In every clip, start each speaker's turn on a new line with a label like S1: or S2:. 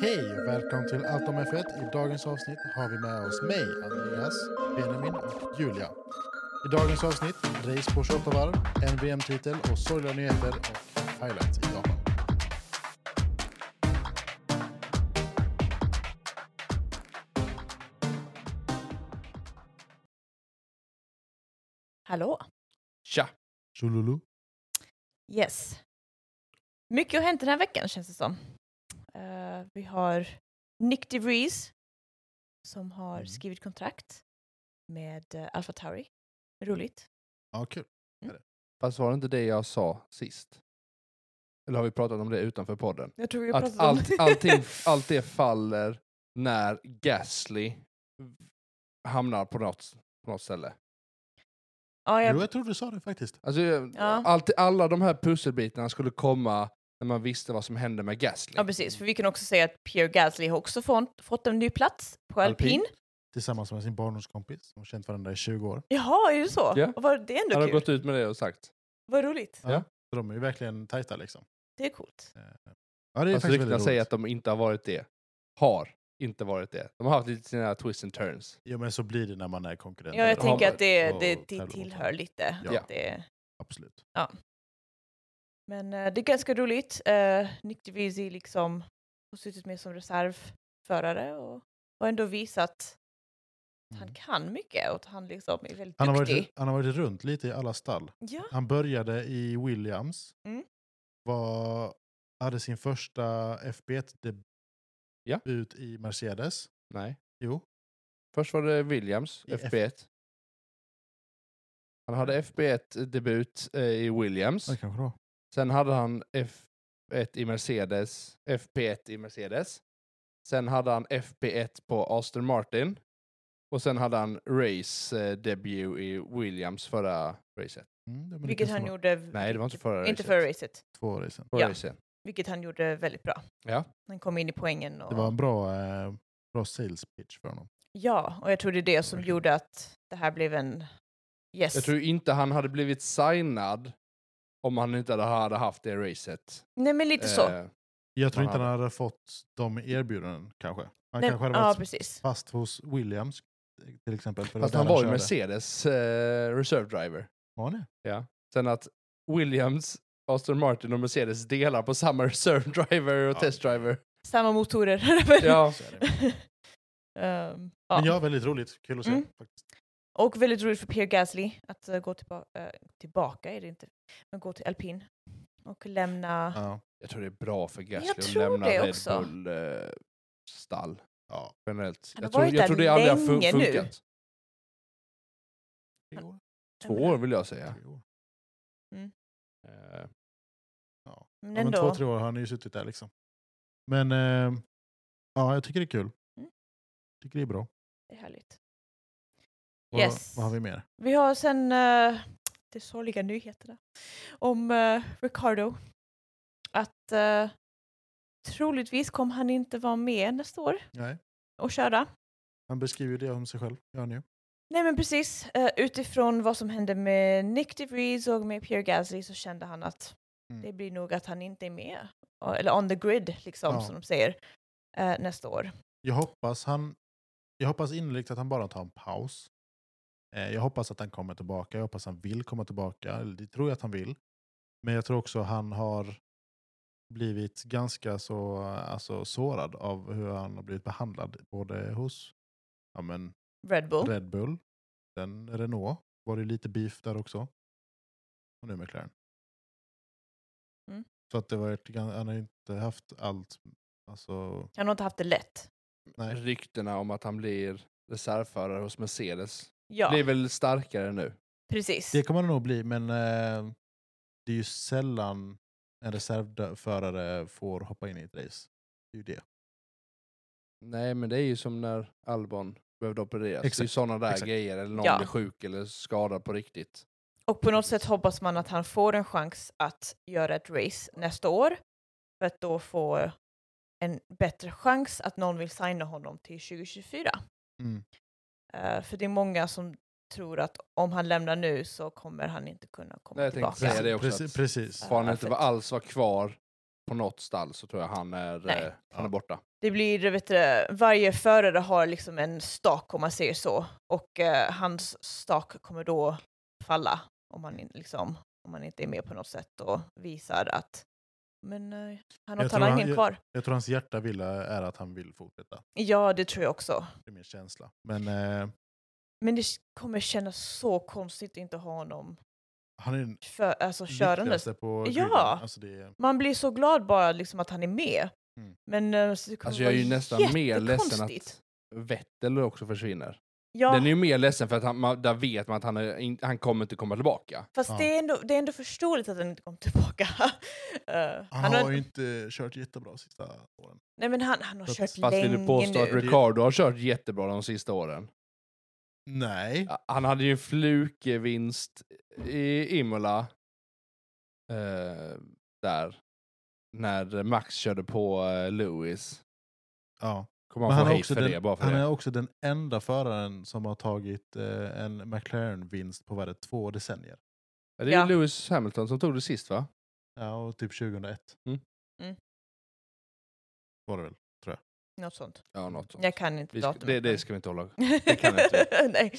S1: Hej och välkommen till Allt om F1. I dagens avsnitt har vi med oss mig, Andreas, Benjamin och Julia. I dagens avsnitt, race på 28 varv, en VM-titel och sorgliga nyheter och highlights i Japan.
S2: Hallå!
S3: Tja!
S1: Tjololo.
S2: Yes. Mycket har hänt den här veckan känns det som. Eh, vi har Nick DeVries som har
S1: Mm.
S2: skrivit kontrakt med uh, Alpha Tauri. Roligt.
S1: Ja, kul.
S3: Fast var det inte det jag sa sist? Eller har vi pratat om det utanför podden?
S2: Jag tror vi
S3: Att allt, allting, allt det faller när Gasly hamnar på något, på något ställe.
S2: ja,
S1: Jo,
S2: jag,
S1: jag tror du sa det faktiskt.
S3: Alltså,
S2: Ja.
S3: allt, alla de här pusselbitarna skulle komma när man visste vad som hände med Gasly.
S2: ja, precis. För vi kan också säga att Pierre Gasly har också fått, fått en ny plats på alpin.
S1: Alpin. Tillsammans med sin barndomskompis. De har känt varandra i 20 år.
S2: Jaha, är det så?
S3: Ja.
S2: Och var, det är
S3: Han
S2: ändå
S3: har
S2: kul.
S3: gått ut med det och sagt.
S2: Vad roligt.
S1: Så de är ju verkligen tajta liksom.
S2: Det är coolt.
S1: Eh, Ja, det är
S3: Fast
S1: faktiskt
S3: ryktena
S1: väldigt
S3: säger
S1: roligt.
S3: Alltså, att de inte har varit det. Har inte varit det. De har haft lite sina twists and turns.
S1: Jo, men så blir det när man är konkurrent.
S2: Ja, jag
S3: har
S2: tänker
S3: varit
S2: att det,
S1: och
S2: det, det
S1: tävlar mot
S2: tillhör
S1: varandra.
S2: lite.
S1: Ja.
S2: Att det,
S1: Absolut.
S2: Men eh, det är ganska roligt. Eh, Nick DeVisi liksom har suttit med som reservförare och har ändå visat att han
S1: Mm.
S2: kan mycket och att han liksom är väldigt
S1: Han har,
S2: duktig.
S1: varit, han har varit runt lite i alla stall.
S2: Ja,
S1: Han började i Williams.
S2: Mm.
S1: Var, hade sin första FB1-debut
S3: Ja.
S1: i Mercedes.
S3: Nej.
S1: Jo,
S3: Först var det Williams,
S1: I F-
S3: FB1. Han hade FB1-debut eh, i Williams.
S1: det kanske det var.
S3: Sen hade han F1 i Mercedes, FP1 i Mercedes. Sen hade han FP1 på Aston Martin. Och sen hade han race-debut i Williams förra racet.
S1: Mm, det- men det
S2: vilket
S1: kanske
S2: han
S1: var
S2: gjorde.
S3: Nej, det var inte förra
S2: Inte
S3: racet.
S2: förra racet,
S1: Två racen.
S3: Förra
S2: Ja.
S3: racet.
S2: vilket han gjorde väldigt bra.
S3: Ja.
S2: Han kom in i poängen. Och,
S1: Det var en bra, eh, bra sales pitch för honom.
S2: Ja, och jag tror det är det som
S1: Verkligen.
S2: gjorde att det här blev en yes.
S3: Jag tror inte han hade blivit signad om han inte hade- hade haft det racet.
S2: Nej, men lite så.
S3: Eh,
S1: Jag tror
S3: Han
S1: inte han
S3: hade-
S1: hade fått de erbjudanden kanske. Han
S2: Nej,
S1: kanske hade
S2: ja,
S1: varit
S2: precis.
S1: fast hos Williams till exempel. för det
S3: Fast
S1: där
S3: han var ju
S1: körde.
S3: Mercedes eh, reserve driver.
S1: Var han det?
S3: Sen att Williams, Aston Martin och Mercedes delar på samma reserve driver och
S1: Ja.
S3: test driver.
S2: Samma motorer.
S3: Ja.
S1: Så är det.
S2: Ehm,
S1: Men ja, väldigt roligt. Kul att se.
S2: Mm.
S1: Faktiskt.
S2: Och väldigt roligt för Pierre Gasly att eh, gå tillba- eh, tillbaka, är det inte, men gå till alpin och lämna.
S1: Ja.
S3: Jag tror det är bra för Gasly
S2: Jag
S3: att
S2: tror
S3: lämna
S2: det
S3: Red
S2: också.
S3: Bull-stall
S1: Ja.
S3: generellt.
S2: Han har
S3: Jag tror,
S2: varit
S3: jag
S2: där
S3: tror det aldrig har
S2: länge
S3: fun-
S2: nu.
S3: funkat.
S1: Tre år.
S3: Två år vill jag säga.
S1: Tre år.
S3: Eh,
S2: Men
S1: Ja, men två,
S2: ändå,
S1: tre år har han ju suttit där liksom. Men eh, ja, jag tycker det är kul.
S2: Mm.
S1: tycker det är bra.
S2: det är härligt.
S1: Vad,
S2: Yes.
S1: vad har vi mer?
S2: Vi har sen eh, de sorgliga nyheterna om eh, Ricardo. Att eh, troligtvis kommer han inte vara med nästa år
S1: Nej.
S2: och köra.
S1: Han beskriver ju det om sig själv. Gör han ju.
S2: Nej men precis, Eh, utifrån vad som hände med Nick DeVries och med Pierre Gasly så kände han att
S1: Mm.
S2: det blir nog att han inte är med, Eh, eller on the grid liksom
S1: Ja.
S2: som de säger, eh, nästa år.
S1: Jag hoppas, han, jag hoppas innerligt att han bara tar en paus. Eh, jag hoppas att han kommer tillbaka. Jag hoppas han vill komma tillbaka. Eller Det tror jag att han vill. Men jag tror också han har blivit ganska så alltså, sårad av hur han har blivit behandlad. Både hos ja, men,
S2: Red Bull.
S1: Red Bull, sen Renault. Var det lite beef där också. Och nu McLaren.
S2: Mm.
S1: Så att det var, ett gan- han har ju inte haft allt. Alltså,
S2: Han har inte haft det lätt.
S1: nej.
S3: ryktena om att han blir reservförare hos Mercedes
S2: Ja,
S3: blir väl starkare nu.
S2: precis.
S1: Det kommer det nog bli, men eh, det är ju sällan en reservförare får hoppa in i ett race. Det är ju det.
S3: Nej, men det är ju som när Albon behövde opereras. Det är ju
S1: Exakt,
S3: sådana där
S1: exakt.
S3: grejer. Eller någon
S2: Ja.
S3: blir sjuk eller skadad på riktigt.
S2: Och på något sätt hoppas man att han får en chans att göra ett race nästa år. För att då få en bättre chans att någon vill signa honom till 2024.
S1: Mm.
S2: Eh, för det är många som tror att om han lämnar nu så kommer han inte kunna komma
S3: Nej, jag tänkte
S2: tillbaka.
S3: säga det också,
S1: Precis.
S3: att-
S1: precis.
S3: Får han inte
S2: Perfekt.
S3: alls vara kvar på något stall så tror jag han är,
S2: Nej.
S3: eh, han är
S1: Ja.
S3: borta.
S2: Det blir, vet du, varje förare har liksom en stak om man säger så och eh, hans stak kommer då falla om han, in, liksom, om han inte är med på något sätt och visar att men eh, han har
S1: Jag tror han-
S2: talangen
S1: jag-
S2: kvar.
S1: Jag tror hans hjärta vill, eh, är att han vill fortsätta.
S2: Ja, det tror jag också.
S1: Det är min känsla. Men eh,
S2: Men det kommer kännas så konstigt att inte ha honom
S1: han är den
S2: för, alltså, körandes.
S1: viktigaste på
S2: Ja.
S1: griden. Alltså det är,
S2: Man blir så glad bara liksom att han är med.
S1: Mm.
S2: Men eh, så det kommer
S3: Alltså jag är
S2: vara
S3: ju nästan mer ledsen
S2: jättekonstigt.
S3: att Vettel också försvinner.
S2: Ja,
S3: Den är ju mer ledsen för att han, man, där vet man att han, är, in, han kommer inte komma tillbaka.
S2: fast
S1: Ja.
S2: det, är ändå, det är ändå förståeligt att han inte kom tillbaka. Eh,
S1: han, har ju inte kört jättebra sista åren.
S2: Nej men han, han har
S1: Fast-
S2: kört
S3: Fast
S2: länge
S3: vill du påstå att
S2: nu.
S3: Ricardo har kört jättebra de sista åren?
S1: Nej.
S3: Ja, Han hade ju en flukvinst i Imola. Eh, där. När Max körde på eh, Lewis.
S1: Ja.
S3: Kommer
S1: Men han,
S3: han få
S1: är
S3: hate
S1: också
S3: för det
S1: den,
S3: bara för
S1: han
S3: det?
S1: är också den enda föraren som har tagit eh, en McLaren-vinst på vad är det, två decennier.
S3: Ja, Det är ju
S2: Ja.
S3: Lewis Hamilton som tog det sist va?
S1: Ja, och typ 2001.
S3: Mm.
S2: Mm.
S1: Var det väl?
S2: Något sånt.
S3: Ja, något sånt.
S2: Jag kan inte
S3: Vi ska,
S2: datumet.
S3: det, det
S2: men-
S3: ska vi inte hålla. det kan jag inte.
S2: Nej.
S3: Vi,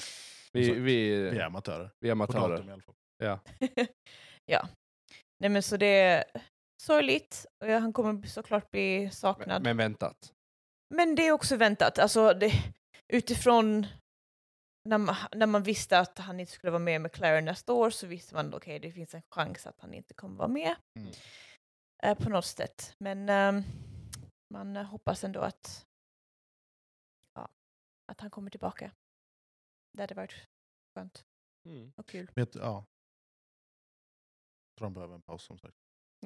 S1: Som sagt,
S3: vi,
S1: Vi är amatörer.
S3: vi är
S1: På datum
S3: amatörer.
S1: i alla fall.
S2: Nej men så det är sorgligt. Och jag- Han kommer såklart bli saknad.
S3: Men, men väntat.
S2: Men det är också väntat. Alltså, det, utifrån när man, när man visste att han inte skulle vara med med McLaren nästa år så visste man att okej, det finns en chans att han inte kommer vara med
S1: Mm.
S2: eh, på något sätt. Men ehm, man eh, hoppas ändå att, ja, att han kommer tillbaka. Det hade varit skönt
S1: Mm.
S2: och kul.
S1: Men jag- ja. Jag tror han behöver en paus som sagt.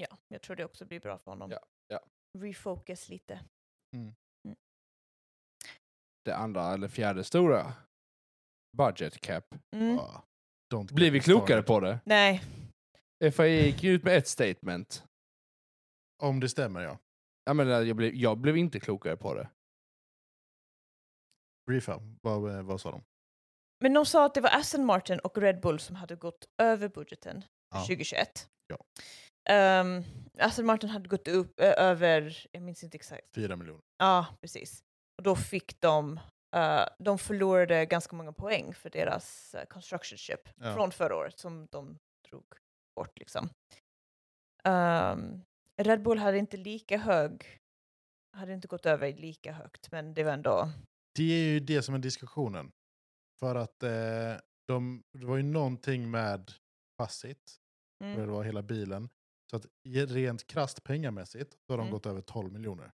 S2: Ja, jag tror det också blir bra för honom.
S3: Ja, ja.
S2: Refocus lite.
S3: Det andra eller fjärde stora. Budget cap.
S2: Mm.
S1: Ja. Ah, Don't
S3: Blir
S1: get
S3: vi
S1: me
S3: klokare
S1: started.
S3: på det?
S2: Nej,
S3: FIA gick ju ut med ett statement.
S1: Om det stämmer ja.
S3: Jag, menar, jag, blev, jag blev inte klokare på det.
S1: Briefa, vad, eh, vad sa de?
S2: men de sa att det var Aston Martin och Red Bull som hade gått över budgeten.
S1: Ja.
S2: 2021.
S1: Ja.
S2: Ehm, Aston Martin hade gått upp eh, över, jag minns inte exakt,
S1: Fyra miljoner.
S2: ja precis. Och då fick de, eh, de förlorade ganska många poäng för deras eh, construction ship
S1: Ja.
S2: från förra året som de drog bort liksom. Ehm, Red Bull hade inte lika hög, hade inte gått över lika högt men det var ändå,
S1: Det är ju det som är diskussionen. För att eh, de, det var ju någonting med passit,
S2: mm,
S1: mm. det var hela bilen. Så att i- rent krasst pengamässigt så har de
S2: Mm.
S1: gått över 12 miljoner.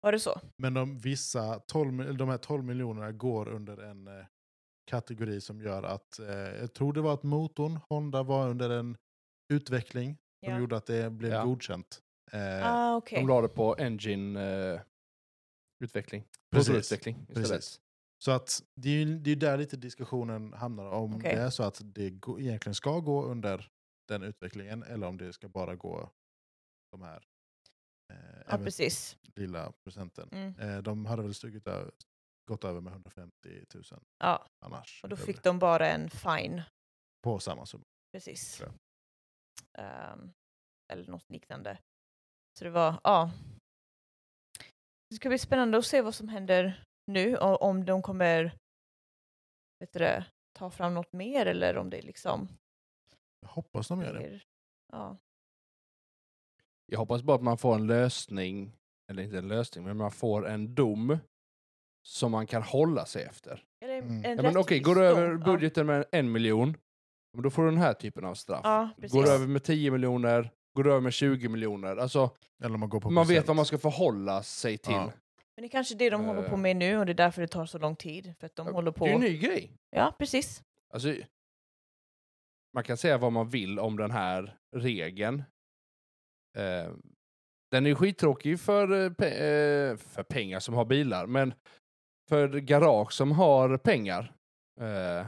S2: var det så?
S1: Men de, vissa 12, mil- eller de här 12 miljonerna går under en eh, kategori som gör att, eh, jag tror det var att motorn, Honda var under en utveckling som
S2: Ja.
S1: gjorde att det blev
S3: Ja.
S1: godkänt. Eh,
S2: Ah, okej.
S3: De la det på engine eh, utveckling.
S1: Precis.
S3: Motorutveckling istället.
S1: Precis. Så att det är ju det är ju där lite diskussionen hamnar om
S2: Okej.
S1: det är så att det gå- egentligen ska gå under den utvecklingen eller om det ska bara gå de här eh,
S2: Ja,
S1: även
S2: precis.
S1: lilla procenten.
S2: Mm.
S1: Eh, de hade väl stugit ö- gått över med 150 000
S2: Ja,
S1: annars.
S2: och då
S1: utöver
S2: fick
S1: det.
S2: de bara en fine
S1: På samma summa.
S2: Precis.
S1: Tror
S2: Ehm, eller något liknande. Så det var, ja. Det ska bli spännande att se vad som händer nu och om de kommer vet du, det, ta fram något mer eller om det liksom
S1: Jag hoppas de gör det.
S2: blir... Ja.
S3: Jag hoppas bara att man får en lösning, eller inte en lösning, men man får en dom som man kan hålla sig efter.
S2: Eller en
S1: Mm.
S2: rättvis
S3: Ja, men okej, går du över
S2: dom,
S3: budgeten med en miljon, men då får du den här typen av straff.
S2: Ja, ja
S3: går
S2: precis.
S3: du över med 10 miljoner, går du över med 20 miljoner. Alltså,
S1: Eller om man går på
S3: man vet
S1: procent.
S3: vad man ska förhålla sig till.
S1: Ja.
S2: Men det är kanske det de håller på med nu och det är därför det tar så lång tid. För att de
S3: Eh. Ja,
S2: håller
S3: Det är ju en
S2: på...
S3: ny grej.
S2: Ja, precis.
S3: Alltså, man kan säga vad man vill om den här regeln. Eh, den är ju skittråkig för, eh, pe- eh, för pengar som har bilar, men för garage som har pengar eh,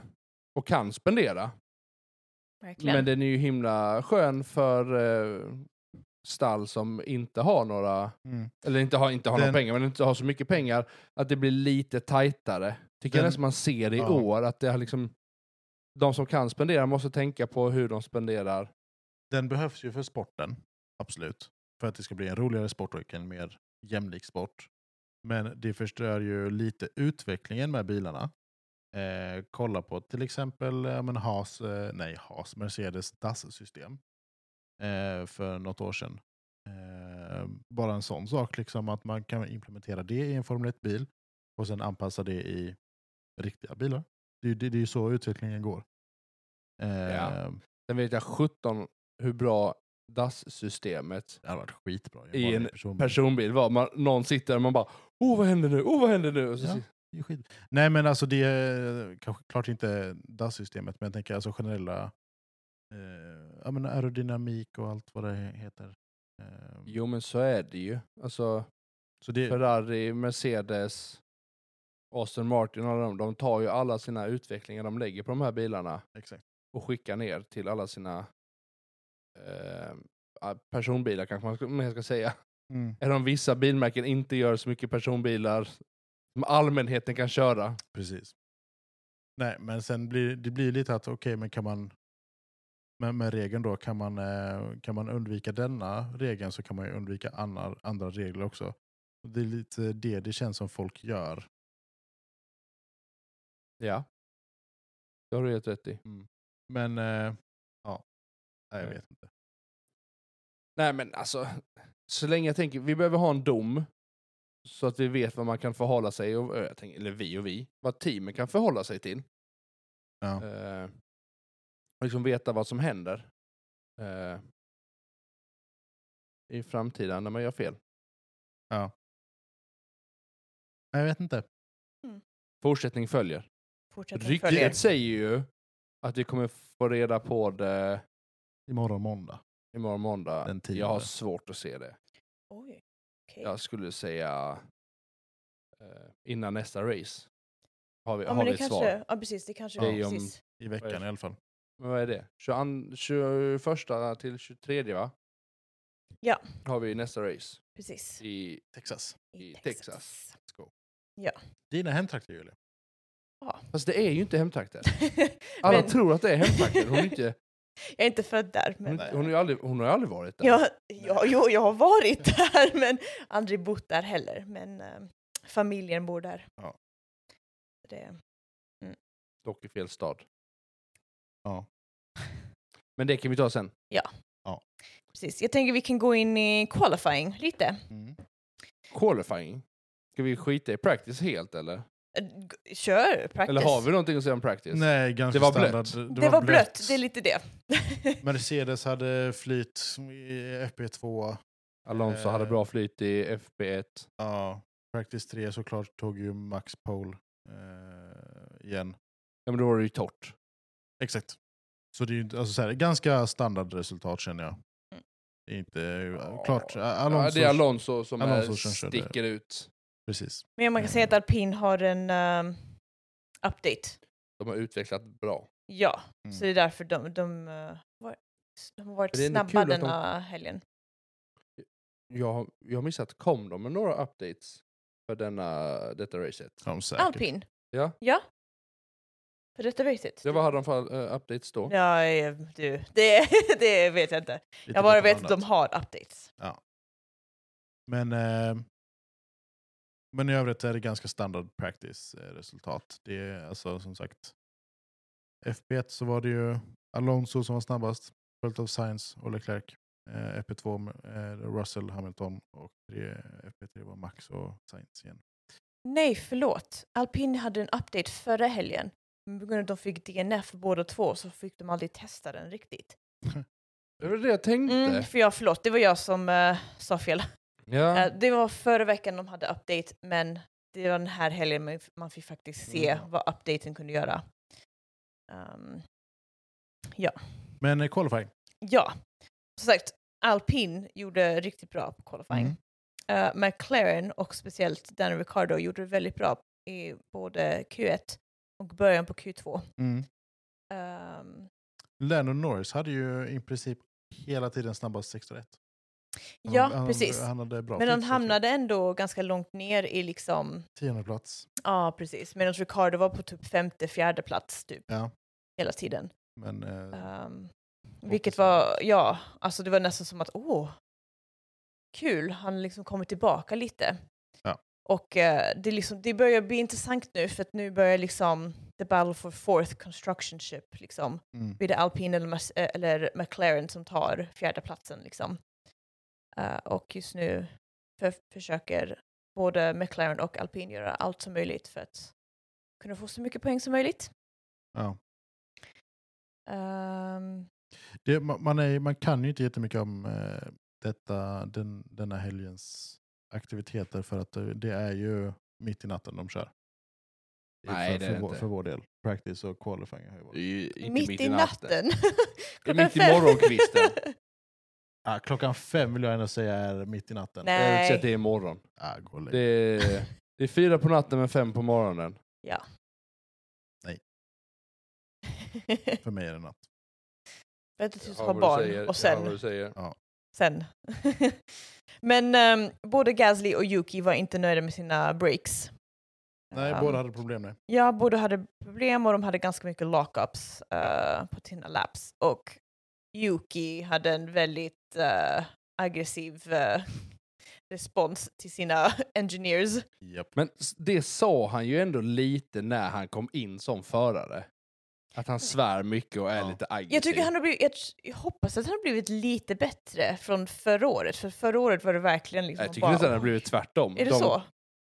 S3: och kan spendera.
S2: Verkligen.
S3: Men den är ju himla skön för eh, stall som inte har några,
S1: Mm.
S3: eller inte har, inte har
S1: Den-
S3: några pengar, men inte har så mycket pengar, att det blir lite tajtare. Tycker
S1: Den-
S3: jag nästan man ser i
S1: Ja.
S3: år, att det har liksom, de som kan spendera måste tänka på hur de spenderar.
S1: Den behövs ju för sporten, absolut. För att det ska bli en roligare sport och en mer jämlik sport. Men det förstör ju lite utvecklingen med bilarna. Eh, kolla på till exempel eh, men Haas, eh, nej Haas, Mercedes DAS-system eh, för något år sedan. Eh, bara en sån sak, liksom att man kan implementera det i en Formel 1-bil och sen anpassa det i riktiga bilar. Det, är ju- det, det är ju så utvecklingen går. Eh,
S3: Ja. Sen vet jag 17 hur bra DAS-systemet
S1: Det hade varit skitbra.
S3: I
S1: bara
S3: en
S1: personbil.
S3: personbil var. Man, någon sitter där och man bara oh vad händer nu, oh vad händer nu? Och så,
S1: Ja. Det är skit. Nej men alltså det är kanske klart inte DAS-systemet men jag tänker alltså generella eh, ja, men aerodynamik och allt vad det heter. Eh,
S3: Jo men så är det ju. Alltså
S1: så det,
S3: Ferrari, Mercedes, Aston Martin och alla de, de tar ju alla sina utvecklingar de lägger på de här bilarna
S1: exakt.
S3: och skickar ner till alla sina eh, ja, personbilar kanske man ska, man ska säga.
S1: Mm,
S3: Eller om vissa bilmärken inte gör så mycket personbilar som allmänheten kan köra.
S1: precis. Nej men sen blir det blir lite att okej men kan man med, med regeln då kan man, eh, kan man undvika denna regeln så kan man ju undvika andra, andra regler också. Och det är lite det det känns som folk gör.
S3: Ja. Det har du helt rätt i.
S1: Men eh, ja, Nej, jag
S3: Nej.
S1: vet inte.
S3: Nej men alltså, så länge jag tänker, vi behöver ha en dom så att vi vet vad man kan förhålla sig, och, eh, jag tänker, eller vi och vi, vad teamen kan förhålla sig till.
S1: Ja.
S3: Eh, och liksom veta vad som händer eh, i framtiden när man gör fel.
S1: Nej, Jag vet inte.
S3: Fortsättning följer.
S2: Fortsätt att följa.
S3: Ryktet säger ju att vi kommer få reda på det
S1: Imorgon måndag.
S3: imorgon måndag.
S1: Den tionde.
S3: jag har svårt att se det.
S2: Oj, okej.
S3: Jag skulle säga eh, innan nästa race. Har vi,
S2: Ja,
S3: har
S2: men
S3: vi
S2: det
S3: ett svar?
S2: kanske, ja precis, det kanske
S3: Det
S2: det
S3: är ju om-
S2: precis.
S1: I veckan i alla fall.
S3: Men vad är det? 22, 21 till 23 va?
S2: Ja.
S3: Har vi nästa race
S2: precis.
S3: i
S1: Texas.
S3: i Texas.
S1: Let's go.
S2: Ja.
S1: Dina hemtrakter Julia.
S3: Fast det är ju inte hemtrakter. Alla
S2: Men-
S3: tror att det är hemtrakter. Hon, är inte,
S2: jag är inte född där. Men...
S3: hon, hon, har ju aldrig, hon har ju aldrig varit där.
S2: Jag, jag, jo, jag har varit där men aldrig bott där heller. Men eh, familjen bor där.
S1: Ja.
S2: Det,
S3: Dock i fel stad.
S1: Ja.
S3: Men det kan vi ta sen.
S2: precis. Jag tänker vi kan gå in i qualifying lite.
S1: Mm.
S3: Qualifying. Ska vi skita i practice helt eller?
S2: Eh, g- Kör, practice.
S3: Eller har vi någonting att säga om practice?
S1: Nej, ganska
S3: Det var
S1: standard.
S3: blött.
S2: det, var blött. det är lite det.
S1: Mercedes hade flyt i FP2.
S3: Alonso hade
S1: Eh.
S3: bra flyt i FP1.
S1: Ja. Practice 3 såklart tog ju Max Pole eh, igen.
S3: Ja men då var det ju torrt.
S1: Exakt. Så det är ju inte- alltså, så här, ganska standardresultat känner jag.
S2: Mm.
S1: Det är inte eh,
S3: Ja.
S1: klart.
S3: Ja,
S1: Alonso,
S3: det är Alonso som är-
S1: Alonso som körde.
S3: sticker ut.
S1: Precis.
S2: Men man kan säga att alpin har en eh, update.
S3: De har utvecklat bra.
S2: Ja,
S1: Mm.
S2: så det är därför de, de, eh, var, de har varit
S3: Det är ändå
S2: snabba
S3: kul att de-
S2: denna helgen.
S3: Jag, har- jag har missat, kom de med några updates för denna, detta racet?
S1: Ja, säkert.
S2: Alpin?
S3: Ja.
S2: Ja. För detta racet?
S3: Ja, vad hade de för eh, updates då?
S2: Ja, eh, du, det, det vet jag inte.
S1: Lite
S2: Jag bara
S1: gott
S2: vet att
S1: blandat.
S2: de har updates.
S1: Men, eh, men i övrigt är det ganska standard practice eh, resultat. Det är alltså som sagt FP1 så var det ju Alonso som var snabbast, följt av Sainz och Leclerc. Eh, FP2 eh, Russell, Hamilton och det, FP3 var Max och Sainz igen.
S2: Nej, förlåt. Alpin hade en update förra helgen. Men på grund av att de fick DNF båda två så fick de aldrig testa den riktigt.
S3: Det var det jag tänkte.
S2: Mm, för jag, förlåt, det var jag som eh, sa fel.
S3: Ja.
S2: Eh, Det var förra veckan de hade update, men det var den här helgen man- man fick faktiskt se
S3: Mm.
S2: vad updaten kunde göra. Ehm,
S1: Men eh, qualifying.
S2: ja, som sagt, Alpin gjorde riktigt bra på qualifying.
S1: Mm.
S2: Eh, McLaren och speciellt Daniel Ricciardo gjorde det väldigt bra i både Q1 och början på Ehm, Q2.
S1: Mm.
S2: Ehm,
S1: Lennon Norris hade ju i princip hela tiden snabbast 6 rätt.
S2: Ja,
S1: han,
S2: precis.
S1: Han hade bra
S2: Men han
S1: fixat, typ.
S2: hamnade ändå ganska långt ner i liksom,
S1: Tionde plats.
S2: ja precis, medan Ricardo var på typ femte, fjärde plats typ
S1: Ja,
S2: hela tiden.
S1: men eh,
S2: Ehm,
S1: Och
S2: vilket
S1: precis.
S2: var, ja, alltså det var nästan som att åh, kul, han liksom kommit tillbaka lite.
S1: Ja.
S2: Och eh, det, är liksom, det börjar bli intressant nu för att nu börjar liksom the battle for fourth construction ship liksom.
S1: mm,
S2: Blir det Alpine eller, Mas- eh, eller McLaren som tar fjärde platsen liksom. Eh, och just nu för- försöker både McLaren och Alpine göra allt som möjligt för att kunna få så mycket poäng som möjligt.
S1: ja.
S2: Ehm,
S1: Det, ma- man, är, man kan ju inte jättemycket om eh, detta, den, denna helgens aktiviteter för att eh, det är ju mitt i natten de kör. I-
S3: Nej,
S1: för,
S3: det är
S1: för,
S3: det
S1: vår,
S3: inte.
S1: för vår del. Practice och qualifying har ju
S3: Det är
S1: varit.
S3: ju inte
S2: mitt, i natten. Klockan
S3: mitt i
S2: fem.
S3: morgonkvisten.
S1: Ah, klockan fem vill jag ändå säga är mitt i natten.
S2: Nej.
S3: Jag vill säga att det är imorgon.
S1: Ah, gå och lägg
S3: Det är, det är fyra på natten men fem på morgonen.
S1: För mig är det natt.
S2: För att du
S3: Jag hör
S2: har
S3: vad du
S2: barn
S3: säger,
S2: och
S3: jag hör vad
S2: sen.
S3: du säger.
S2: sen. Men ehm, både Gasly och Yuki var inte nöjda med sina breaks.
S1: Nej,
S2: Ehm,
S1: båda hade problem med.
S2: Ja, båda hade problem och de hade ganska mycket lockups eh, på sina laps. Och Yuki hade en väldigt eh, aggressiv eh, respons till sina engineers.
S1: Japp.
S3: Men s- det sa han ju ändå lite när han kom in som förare. Att han svär mycket och är
S1: Ja.
S3: lite aggressiv.
S2: Jag, tycker han har blivit, jag, tr- jag hoppas att han har blivit lite bättre från förra året, för förra året var det verkligen liksom
S3: jag tycker nästan det har blivit tvärtom.
S2: Är det
S3: De
S2: så?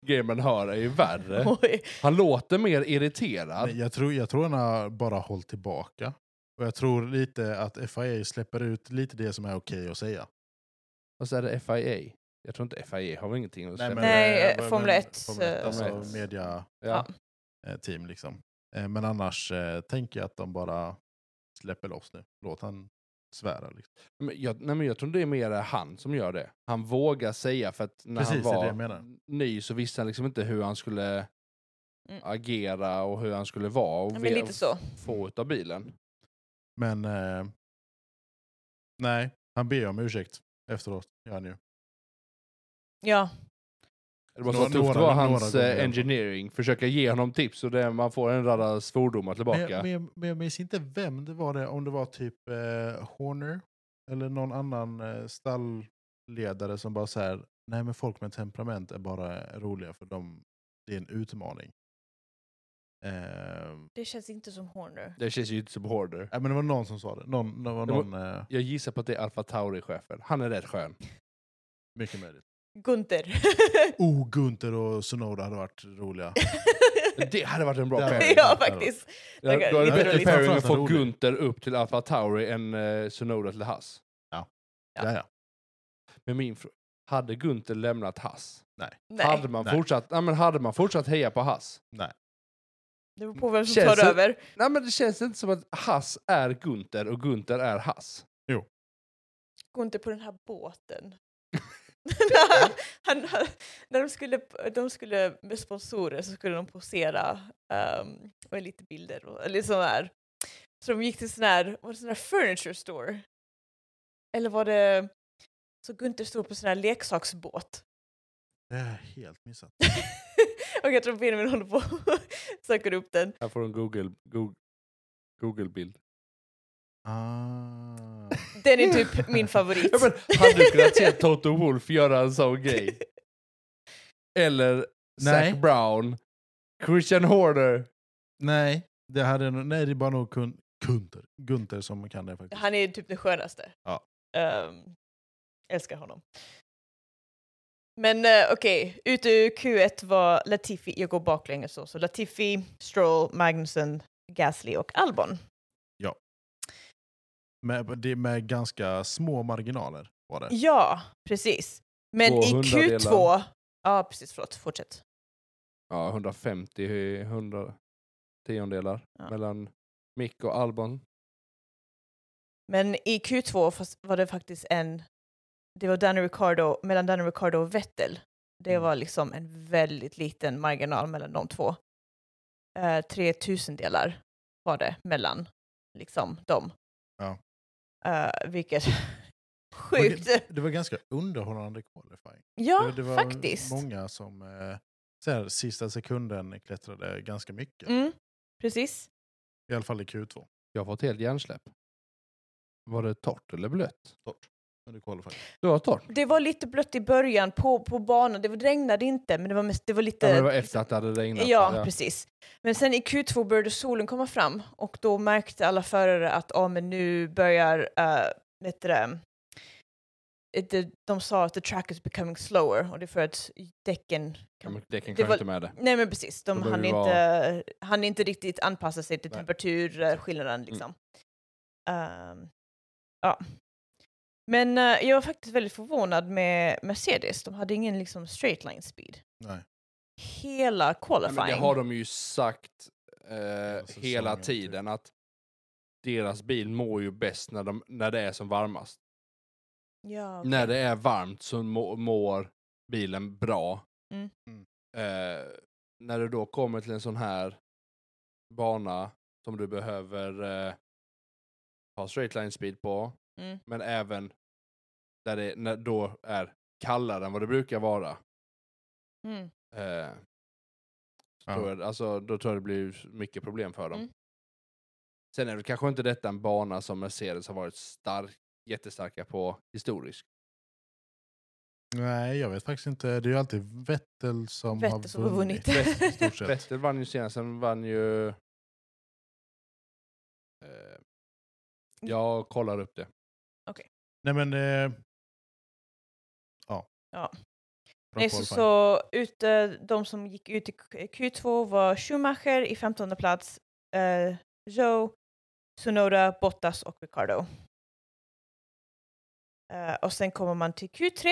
S3: grejer man hör är ju värre.
S2: Oj.
S3: Han låter mer irriterad.
S1: Nej, jag, tror, jag tror han har bara hållit tillbaka. Och jag tror lite att FIA släpper ut lite det som är okej att säga.
S3: Och så är det FIA. Jag tror inte FIA har väl ingenting att säga.
S1: men,
S2: Nej,
S1: eh,
S2: Formel
S1: men-
S2: 1,
S1: Formel 1,
S3: eh,
S1: Alltså mediateam
S3: ja.
S1: liksom. Eh, Men annars eh, tänker jag att de bara släpper loss nu. Låt han svära. Liksom.
S3: Men jag, nej, men jag tror det är mer han som gör det. Han vågar säga för att när
S1: Precis, det
S3: han
S1: är
S3: var
S1: det jag menar.
S3: ny så visste han liksom inte hur han skulle
S2: Mm.
S3: agera och hur han skulle vara och
S2: Ja, men
S3: ve-
S2: lite så.
S3: få ut av bilen.
S1: Men eh, nej, han ber om ursäkt efteråt. Gör han ju.
S2: Ja,
S3: Det var så
S1: Några-
S3: tufft det
S1: några-
S3: var
S1: några
S3: hans
S1: gånger i alla
S3: eh,
S1: fall.
S3: engineering, försöka ge honom tips och det, man får en radda svordomar
S1: Men,
S3: tillbaka.
S1: jag- men, jag- men jag minns inte vem det var, det, om det var typ eh, Horner eller någon annan eh, stallledare som bara så här, nej men folk med temperament är bara roliga för de, det är en utmaning. Eh,
S2: det känns inte som Horner.
S3: Det känns ju inte som Horder.
S1: nej, men det var någon som sa det, någon, det var
S3: Det var-
S1: någon eh,
S3: Jag gissar på att det är Alfa Tauri-chefen. Han är rätt skön.
S1: mycket möjligt.
S2: Gunther.
S1: Oh, Gunther och Sonoda hade varit roliga.
S3: Det hade varit en bra
S1: Det hade varit-
S3: pairing.
S2: ja, faktiskt.
S3: Då då är
S2: Jag
S3: det
S2: vet
S3: bättre
S2: inte.
S3: pairing att få
S1: Framförallt rolig.
S3: Gunther upp till Alfa Tauri än eh, Sonoda till Haas.
S2: Ja.
S1: Ja, ja.
S3: Men min fråga, hade Gunther lämnat Haas?
S2: Nej,
S3: Hade man,
S1: Nej.
S3: fortsatt, ja, men hade man fortsatt heja på Haas?
S2: det beror på vem som
S3: Känns
S2: tar
S3: det-
S2: över.
S3: Nej men det känns inte som att Haas är Gunther och Gunther är Haas.
S2: Gunther på den här båten. När han- han, han, när de skulle, de skulle med sponsorer så skulle de posera ehm, med lite bilder och eller sån här. Så de gick till sån här, var det sån här furniture store? Eller var det, så Gunther stod på sån här leksaksbåt.
S1: Det är helt missat.
S2: och jag tror Benjamin håller på och söker upp den.
S3: Här får du en Google, Google, Google-bild.
S1: Ah.
S2: Den är typ min favorit.
S3: Ja, men, hade du kunnat se Toto Wolf göra en sån grej? Eller
S1: Nej.
S3: Zac Brown, Christian Horner.
S1: Nej, det, hade, nog- nej, det är bara nog kun, Gunther. Gunther som kan det faktiskt.
S2: Han är typ den skönaste.
S1: Ja.
S2: Ehm, älskar honom. Men uh, okej, ut ur Q1 var Latifi, jag går baklänges så, så Latifi, Stroll, Magnussen, Gasly och Albon.
S1: Med, det är med ganska små marginaler var det.
S2: Ja, precis. Men
S3: Två
S2: i Q2,
S3: hundradelar.
S2: ja precis, förlåt, fortsätt.
S3: Ja, 150 100 tiondelar
S2: Ja.
S3: mellan Mick och Albon.
S2: Men i Q2 fast var det faktiskt en, det var Danny Ricardo, mellan Danny Ricardo och Vettel. Det
S1: Mm.
S2: var liksom en väldigt liten marginal mellan de två. Eh, tre tusendelar var det mellan liksom dem.
S1: Ja.
S2: Eh, vilket Sjukt.
S1: Det var ganska underhållande qualifying.
S2: Ja,
S1: det, det var
S2: faktiskt.
S1: många som eh, så här, sista sekunden klättrade ganska mycket.
S2: Mm, precis.
S1: I alla fall i Q2.
S3: Jag har fått helt hjärnsläpp. Var det torrt eller blött?
S1: Under qualifying.
S3: Det var torrt.
S2: Det var lite blött i början på, på banan. Det var- det regnade inte, men det var, mest, det var lite...
S3: Ja, men det var efter att det hade regnat.
S2: Ja, precis. Men sen i Q2 började solen komma fram och då märkte alla förare att ah, men nu börjar, uh, vet du det, It- de- de sa att the track is becoming slower och det är för att däcken...
S3: Ja, men det kan
S2: Det
S3: kanske
S2: var-
S3: inte med det.
S2: Nej men precis, de
S3: Då börjar
S2: hann
S3: det
S2: inte,
S3: vara-
S2: hann inte riktigt anpassa sig till
S3: Nej. Mm.
S2: temperaturskillnaden liksom. Ehm, ja. Men eh, jag var faktiskt väldigt förvånad med Mercedes, de hade ingen liksom straight line speed.
S1: Nej.
S2: Hela
S3: Nej,
S2: qualifying.
S3: men det har de ju sagt eh,
S1: säsongen,
S3: hela
S1: typ.
S3: tiden att deras bil mår ju bäst när, de, när det är som varmast.
S2: Ja,
S3: När det är varmt så må, mår bilen bra.
S2: Mm.
S1: Mm.
S3: Eh, när du då kommer till en sån här bana som du behöver eh, ha straight line speed på,
S2: Mm.
S3: men även där det när då är kallare än vad det brukar vara.
S2: mm.
S3: Eh, så
S1: Ja.
S3: tror jag, alltså, då tror jag det blir mycket problem för dem.
S2: Mm.
S3: Sen är det kanske inte detta en bana som Mercedes har varit stark, jättestarka på historiskt.
S1: Nej, jag vet faktiskt inte. Det är ju alltid Vettel som har
S2: Vettel
S1: vunnit.
S2: som har vunnit.
S1: I stort sett.
S3: Vettel vann ju senast, sen vann ju... Eh,
S1: Mm.
S3: jag kollar upp det.
S1: Nej men... Eh, ja.
S2: Ja.
S1: Bra
S2: Nej, så,
S1: qualifying.
S2: så ut, eh, de som gick ut i Q- Q2 var Schumacher i 15 plats, eh, Joe, Sonoda, Bottas och Ricardo. Eh, och sen kommer man till Q3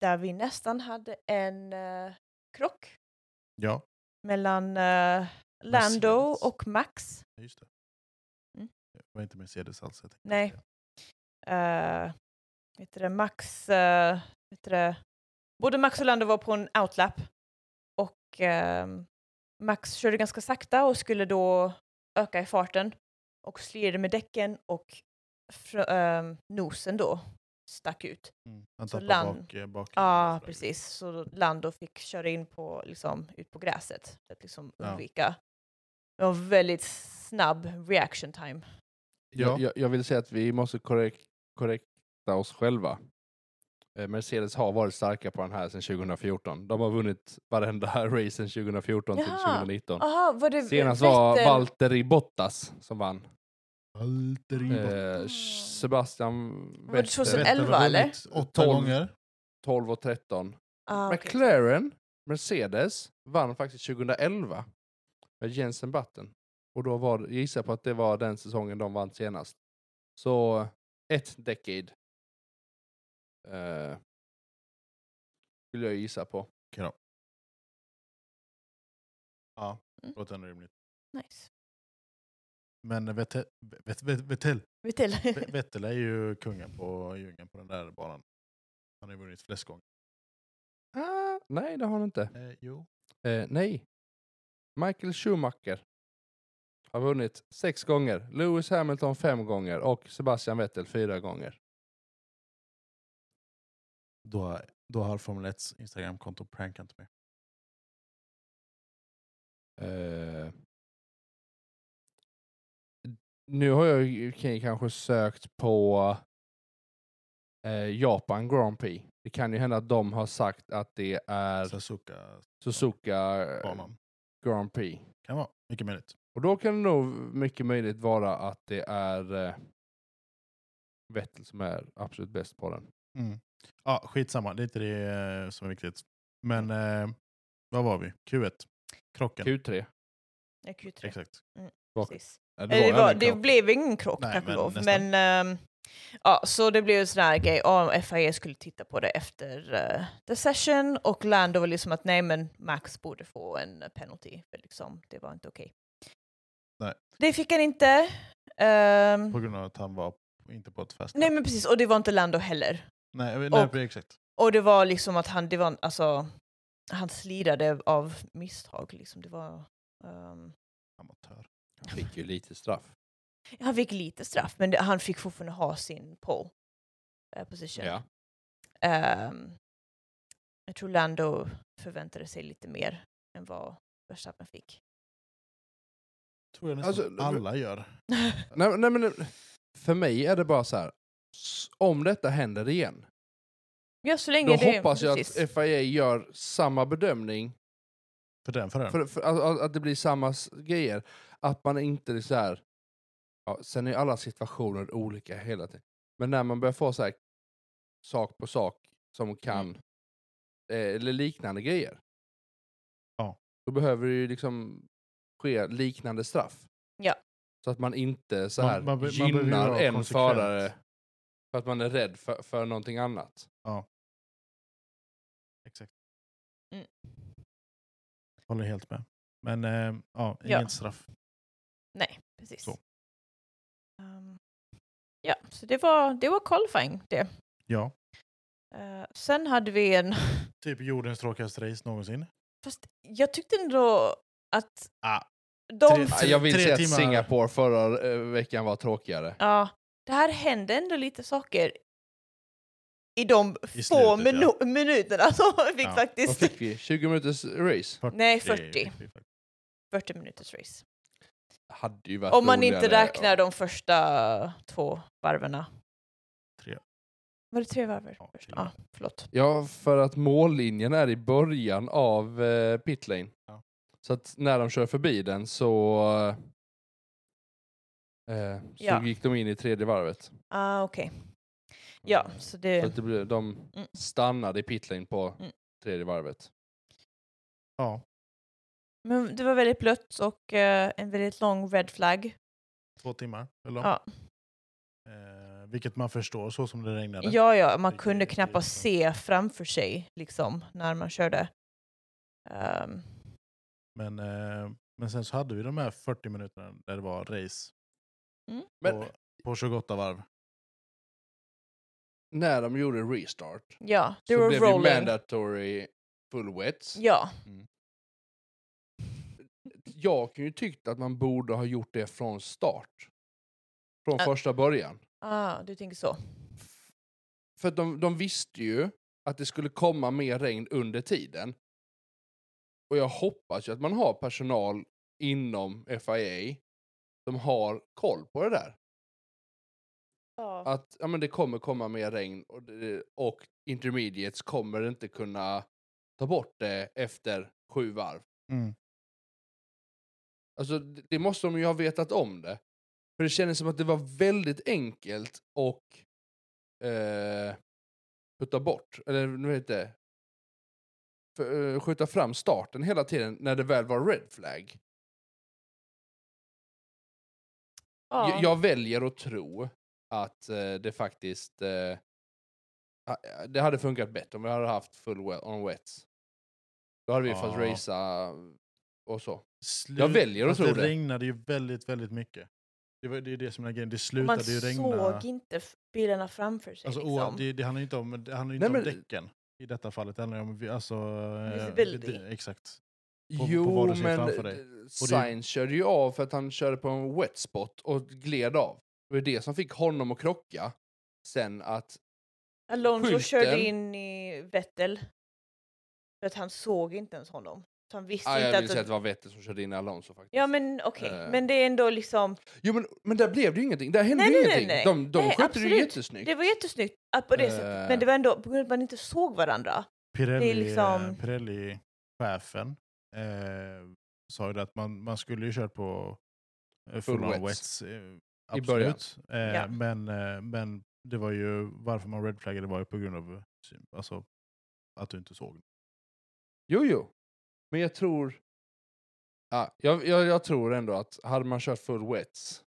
S2: där vi nästan hade en eh, krock
S1: Ja,
S2: mellan eh, Lando
S1: Mercedes.
S2: och Max.
S1: just det.
S2: Mm.
S1: Det var inte Mercedes alls. Jag tänkte
S2: Nej.
S1: säga.
S2: uh, vet du det, Max, eh, vet du det, både Max och Lando var på en outlap och ehm, Max körde ganska sakta och skulle då öka i farten och slirade med däcken och fr- ehm, nosen då stack ut.
S1: Mm. Han
S2: Så
S1: tappade
S2: Lan-
S1: bak, eh, bak.
S2: Ja, precis. Så Lando fick köra in på, liksom, ut på gräset för att liksom
S1: Ja.
S2: undvika. Det var väldigt snabb reaction time.
S3: Jag,
S1: Ja.
S3: jag, jag vill säga att vi måste korrek, korrekta oss själva. Eh, Mercedes har varit starka på den här sedan 2014. De har vunnit varenda race sedan 2014 till
S2: Jaha.
S3: 2019.
S2: Aha, var det
S3: Senast var
S2: Vettel?
S3: Valtteri Bottas som vann.
S1: Valtteri Bottas.
S3: Eh, Sebastian
S2: Var det
S3: Vettel
S2: 2011?
S1: Vettel har
S2: eller?
S1: vunnit Åtta
S3: Tolv.
S1: gånger.
S3: 12 och 13.
S2: Ah, okej.
S3: McLaren, Mercedes, vann faktiskt 2011 med Jensen Button. Och då var, gissar jag på att det var den säsongen de vann senast. Så ett decade. Eh, skulle jag gissa på.
S1: Okej då. Ja,
S2: Mm.
S1: låter ändå rimligt.
S2: Nice.
S1: Men Vettel, Vet- Vet- Vettel,
S2: Vettel.
S1: Ve- Vettel är ju kungen på djungeln på den där banan. Han har ju vunnit flest gånger.
S3: Ah, nej, det har han inte.
S1: Eh, jo.
S3: Eh, nej. Michael Schumacher har vunnit sex gånger. Lewis Hamilton fem gånger och Sebastian Vettel fyra gånger.
S1: Då, då har Formel 1s Instagramkonto prankat mig.
S3: Eh, nu har jag ju- kan jag kanske sökt på eh, Japan Grand Prix. Det kan ju hända att de har sagt att det är
S1: Suzuka-banan.
S3: Suzuka eh, Grand Prix.
S1: Kan vara. Mycket möjligt.
S3: Och då kan det nog mycket möjligt vara att det är eh, Vettel som är absolut bäst på den.
S1: Mm. Ja, skitsamma, det är inte det eh, som är viktigt. Men
S2: Mm.
S1: eh, vad var vi? Q1. Krocken.
S3: Q3.
S2: Nej, Q3.
S1: Exakt.
S2: Precis.
S3: Ja,
S2: Eh, Det,
S3: en
S2: var,
S3: krock.
S2: det blev ingen krock
S1: Nej,
S2: tack och
S1: men
S2: lov.
S1: nästan.
S2: Men ehm, ja, så det blev en sån här grej. Ja, FIA E skulle titta på det efter eh, the session och Lando var liksom att nej men Max borde få en penalty. För liksom, det var inte okej.
S1: Nej.
S2: Det fick han inte. Ehm,
S1: På grund av att han var inte på ett fast.
S2: nej men precis, och det var inte Lando heller.
S1: nej, nej,
S2: och-
S1: exakt.
S2: Och det var liksom att han, det var, alltså, han slirade av misstag. Liksom. Det var, ehm,
S1: Amatör.
S3: Fick ju lite straff.
S2: Han fick lite straff, men det, han fick fortfarande ha sin pole. eh, position.
S3: Ja.
S2: Ehm, jag tror Lando förväntade sig lite mer än vad Verstappen fick.
S1: tror jag nästan
S3: Alltså,
S1: alla gör.
S3: Nej, nej, men för mig är det bara så här. s- Om detta händer igen,
S2: ja, så länge
S3: då
S2: det
S3: hoppas jag
S2: precis.
S3: att FIA gör samma bedömning,
S1: För den, för den.
S3: för, för, att, att det blir samma s- grejer. Att man inte är så här... Ja, sen är alla situationer olika hela tiden. Men när man börjar få så här sak på sak som kan,
S2: Mm.
S3: eh, eller liknande grejer.
S1: Ja.
S3: Då behöver det ju liksom ske liknande straff.
S2: Ja.
S3: Så att man inte så
S1: Man-
S3: här
S1: man be- man behöver ju
S3: gynnar
S1: vara
S3: en
S1: konsekvent.
S3: förare för att man är rädd för, för någonting annat.
S1: Exakt.
S2: Mm.
S1: Håller helt med. Men eh, ja,
S2: Ja.
S1: inget straff.
S2: Nej, precis.
S1: Så.
S2: Ehm, ja, så det var, det var qualifying det.
S1: Ja.
S2: Eh, sen hade vi en...
S1: Typ jordens tråkigaste race någonsin.
S2: Fast jag tyckte ändå att
S1: Ah,
S2: de...
S1: tre-
S3: Ja, Jag vill
S1: tre
S3: säga att
S1: timmar.
S3: Singapore förra eh, veckan var tråkigare.
S2: Ja, det här hände ändå lite saker i de
S1: I
S2: få
S1: slutet,
S2: minu- minuterna som vi fick
S1: Ja,
S3: Vad
S2: faktiskt.
S3: fick vi? 20 minuters race?
S2: Nej,
S1: Det är
S2: 40.
S1: riktigt faktiskt.
S2: 40 minuters race.
S3: Hade ju varit
S2: Om man inte
S3: roligare.
S2: räknar de första två varverna.
S1: Tre.
S2: Var det tre varver?
S1: Ja,
S2: först?
S1: tre.
S2: Ja, förlåt.
S3: Ja, för att mållinjen är i början av eh, pitlane.
S1: Ja.
S3: Så att när de kör förbi den så, eh, så
S2: Ja.
S3: gick de in i tredje varvet.
S2: Ah, okej.
S1: Mm.
S2: Ja, så
S3: Så
S2: det...
S3: att det blev, de
S2: Mm.
S3: stannade i pitlane på
S2: Mm.
S3: tredje varvet.
S1: Ja,
S2: Men det var väldigt blött och eh, en väldigt lång red flag.
S1: två timmar. Eller?
S2: Ja.
S1: Eh, vilket man förstår så som det regnade.
S2: Ja, ja, man
S1: Det
S2: kunde
S1: är ju
S2: knappast
S1: så.
S2: se framför sig liksom när man körde. Ehm,
S1: Men, eh, men sen så hade vi de här 40 minuterna där det var race
S3: Men
S1: på, på 28 varv.
S3: när de gjorde restart
S2: ja, det
S3: så
S2: var
S3: blev det ju
S2: rolling.
S3: mandatory full wets.
S2: Ja,
S3: Jag kan ju tyckt att man borde ha gjort det från start. Från
S2: Ä-
S3: första början.
S2: ah, du tänker så.
S3: För att de, de visste ju att det skulle komma mer regn under tiden. Och jag hoppas ju att man har personal inom FIA som har koll på det där.
S2: Ja.
S3: Att ja, men det kommer komma mer regn och, det- och intermediates kommer inte kunna ta bort det efter sju varv.
S1: Mm.
S3: Alltså, det det måste de ju ha vetat om det. För det kändes som att det var väldigt enkelt och eh, putta bort, eller nu vet jag inte, för, eh, skjuta fram starten hela tiden när det väl var red flag.
S2: Ja.
S3: Jag, jag väljer att tro att eh, det faktiskt eh, ha- eh, det hade funkat bättre om vi hade haft full we- on wets. Då hade vi fått
S1: Ja.
S3: racea och så.
S1: Slut,
S3: Jag väljer att
S1: Fast
S3: tro
S1: det.
S3: det.
S1: regnade ju väldigt, väldigt mycket. Det, var, det är ju det som är grejen. Det
S2: Och man
S1: slutade ju regna.
S2: såg inte f- bilarna framför sig.
S1: Alltså,
S2: liksom.
S1: o, det, det handlar ju inte om, det handlar ju inte
S3: Nej,
S1: om
S3: men-
S1: däcken i detta fallet. Det handlar ju om vi- alltså, eh,
S2: Visibility.
S1: det- Exakt. på
S3: Jo,
S1: vad du ser
S3: men
S1: framför dig.
S3: d-
S1: det-
S3: Sainz körde ju av för att han körde på en wet spot och gled av. Det var det som fick honom att krocka. Sen att,
S2: Alonso
S3: skylten-
S2: körde in i Vettel. För att han såg inte ens honom. Så han visste
S3: ah,
S2: inte
S3: jag vill
S2: att...
S3: säga att det var Vettel som körde in i Alonso faktiskt.
S2: Ja men okej,
S3: Eh.
S2: men det är ändå liksom...
S3: Jo, men, men där blev det ju ingenting. Där hände
S2: Nej,
S3: ju
S2: nej, nej,
S3: ingenting.
S2: nej.
S3: De, de
S2: Nej,
S3: skötte det ju
S2: absolut.
S3: jättesnyggt.
S2: Det var jättesnyggt att på det sättet,
S3: Eh.
S2: men det var ändå på grund av att man inte såg varandra.
S1: Pirelli, eh,
S2: liksom-
S1: Pirelli-chefen eh, sa ju det att man, man skulle ju kört på eh,
S3: Full
S1: full on
S3: wets.
S1: wets. eh, absolut.
S3: början.
S1: Eh,
S2: Ja.
S1: men, eh, men det var ju varför man redflaggade var ju på grund av syn- alltså, att du inte såg.
S3: Jo, jo. Men jag tror... Ah, jag, jag, jag tror ändå att hade man kört full wets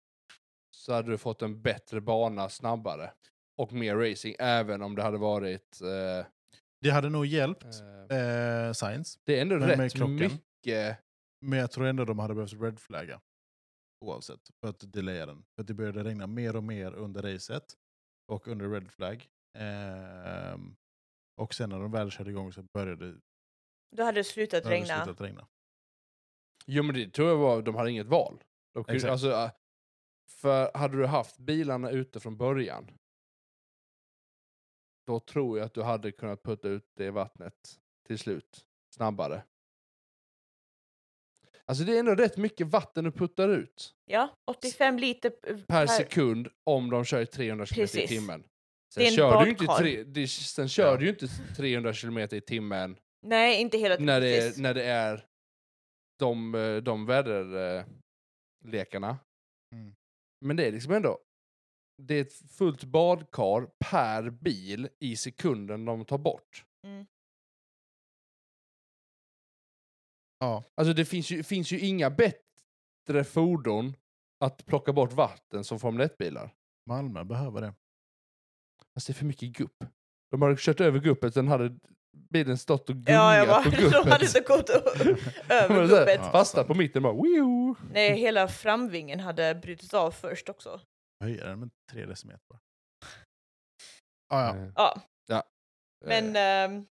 S3: så hade du fått en bättre bana snabbare. Och mer racing, även om det hade varit... Eh,
S1: Det hade nog hjälpt
S3: eh,
S1: eh, Science,
S3: det är ändå
S1: men med
S3: rätt
S1: krocken.
S3: mycket...
S1: men jag tror ändå de hade behövt redflagga. Oavsett, för att delaya den. För att det började regna mer och mer under racet och under red flag. Ehm, och sen när de väl körde igång så började
S2: Då hade det slutat
S1: Ja, det
S2: regna.
S1: slutade regna.
S3: Jo men det tror jag var, de hade inget val. De kunde,
S1: Exakt.
S3: alltså, äh, för hade du haft bilarna ute från början Då tror jag att du hade kunnat putta ut det i vattnet till slut. Snabbare. Alltså det är ändå rätt mycket vatten du puttar ut
S2: Ja, 85 liter p- eh,
S3: per sekund om de kör i 300 km i
S2: Precis.
S3: timmen.
S2: Det
S3: Sen
S2: är en
S3: kör, du ju inte
S2: badkar.
S3: tre, det, sen kör
S1: Ja.
S3: du ju inte 300 km i timmen
S2: Nej, inte hela tiden.
S3: när det
S2: precis.
S3: är, när det är de, eh, de väderlekarna.
S1: Mm.
S3: Men det är liksom ändå, det är ett fullt badkar per bil i sekunden de tar bort.
S2: Mm.
S1: Ja,
S3: Alltså det finns ju, finns ju inga bättre fordon att plocka bort vatten som Formel 1-bilar.
S1: Malmö behöver det.
S3: Alltså det är för mycket gupp. De hade kört över guppet, sen hade bilen stått och gungat
S2: Ja, jag
S3: på
S2: bara, de hade
S3: guppet.
S2: så gått ö-
S3: De
S2: över
S3: hade så här
S2: gubbet.
S1: Ja.
S3: Fastnat på mitten bara, "Wiu."
S2: Nej, hela framvingen hade brutits av först också.
S1: Höjer den med tre decimeter bara. Ah, ja.
S3: Eh,
S2: Ja,
S3: eh,
S2: men... ehm,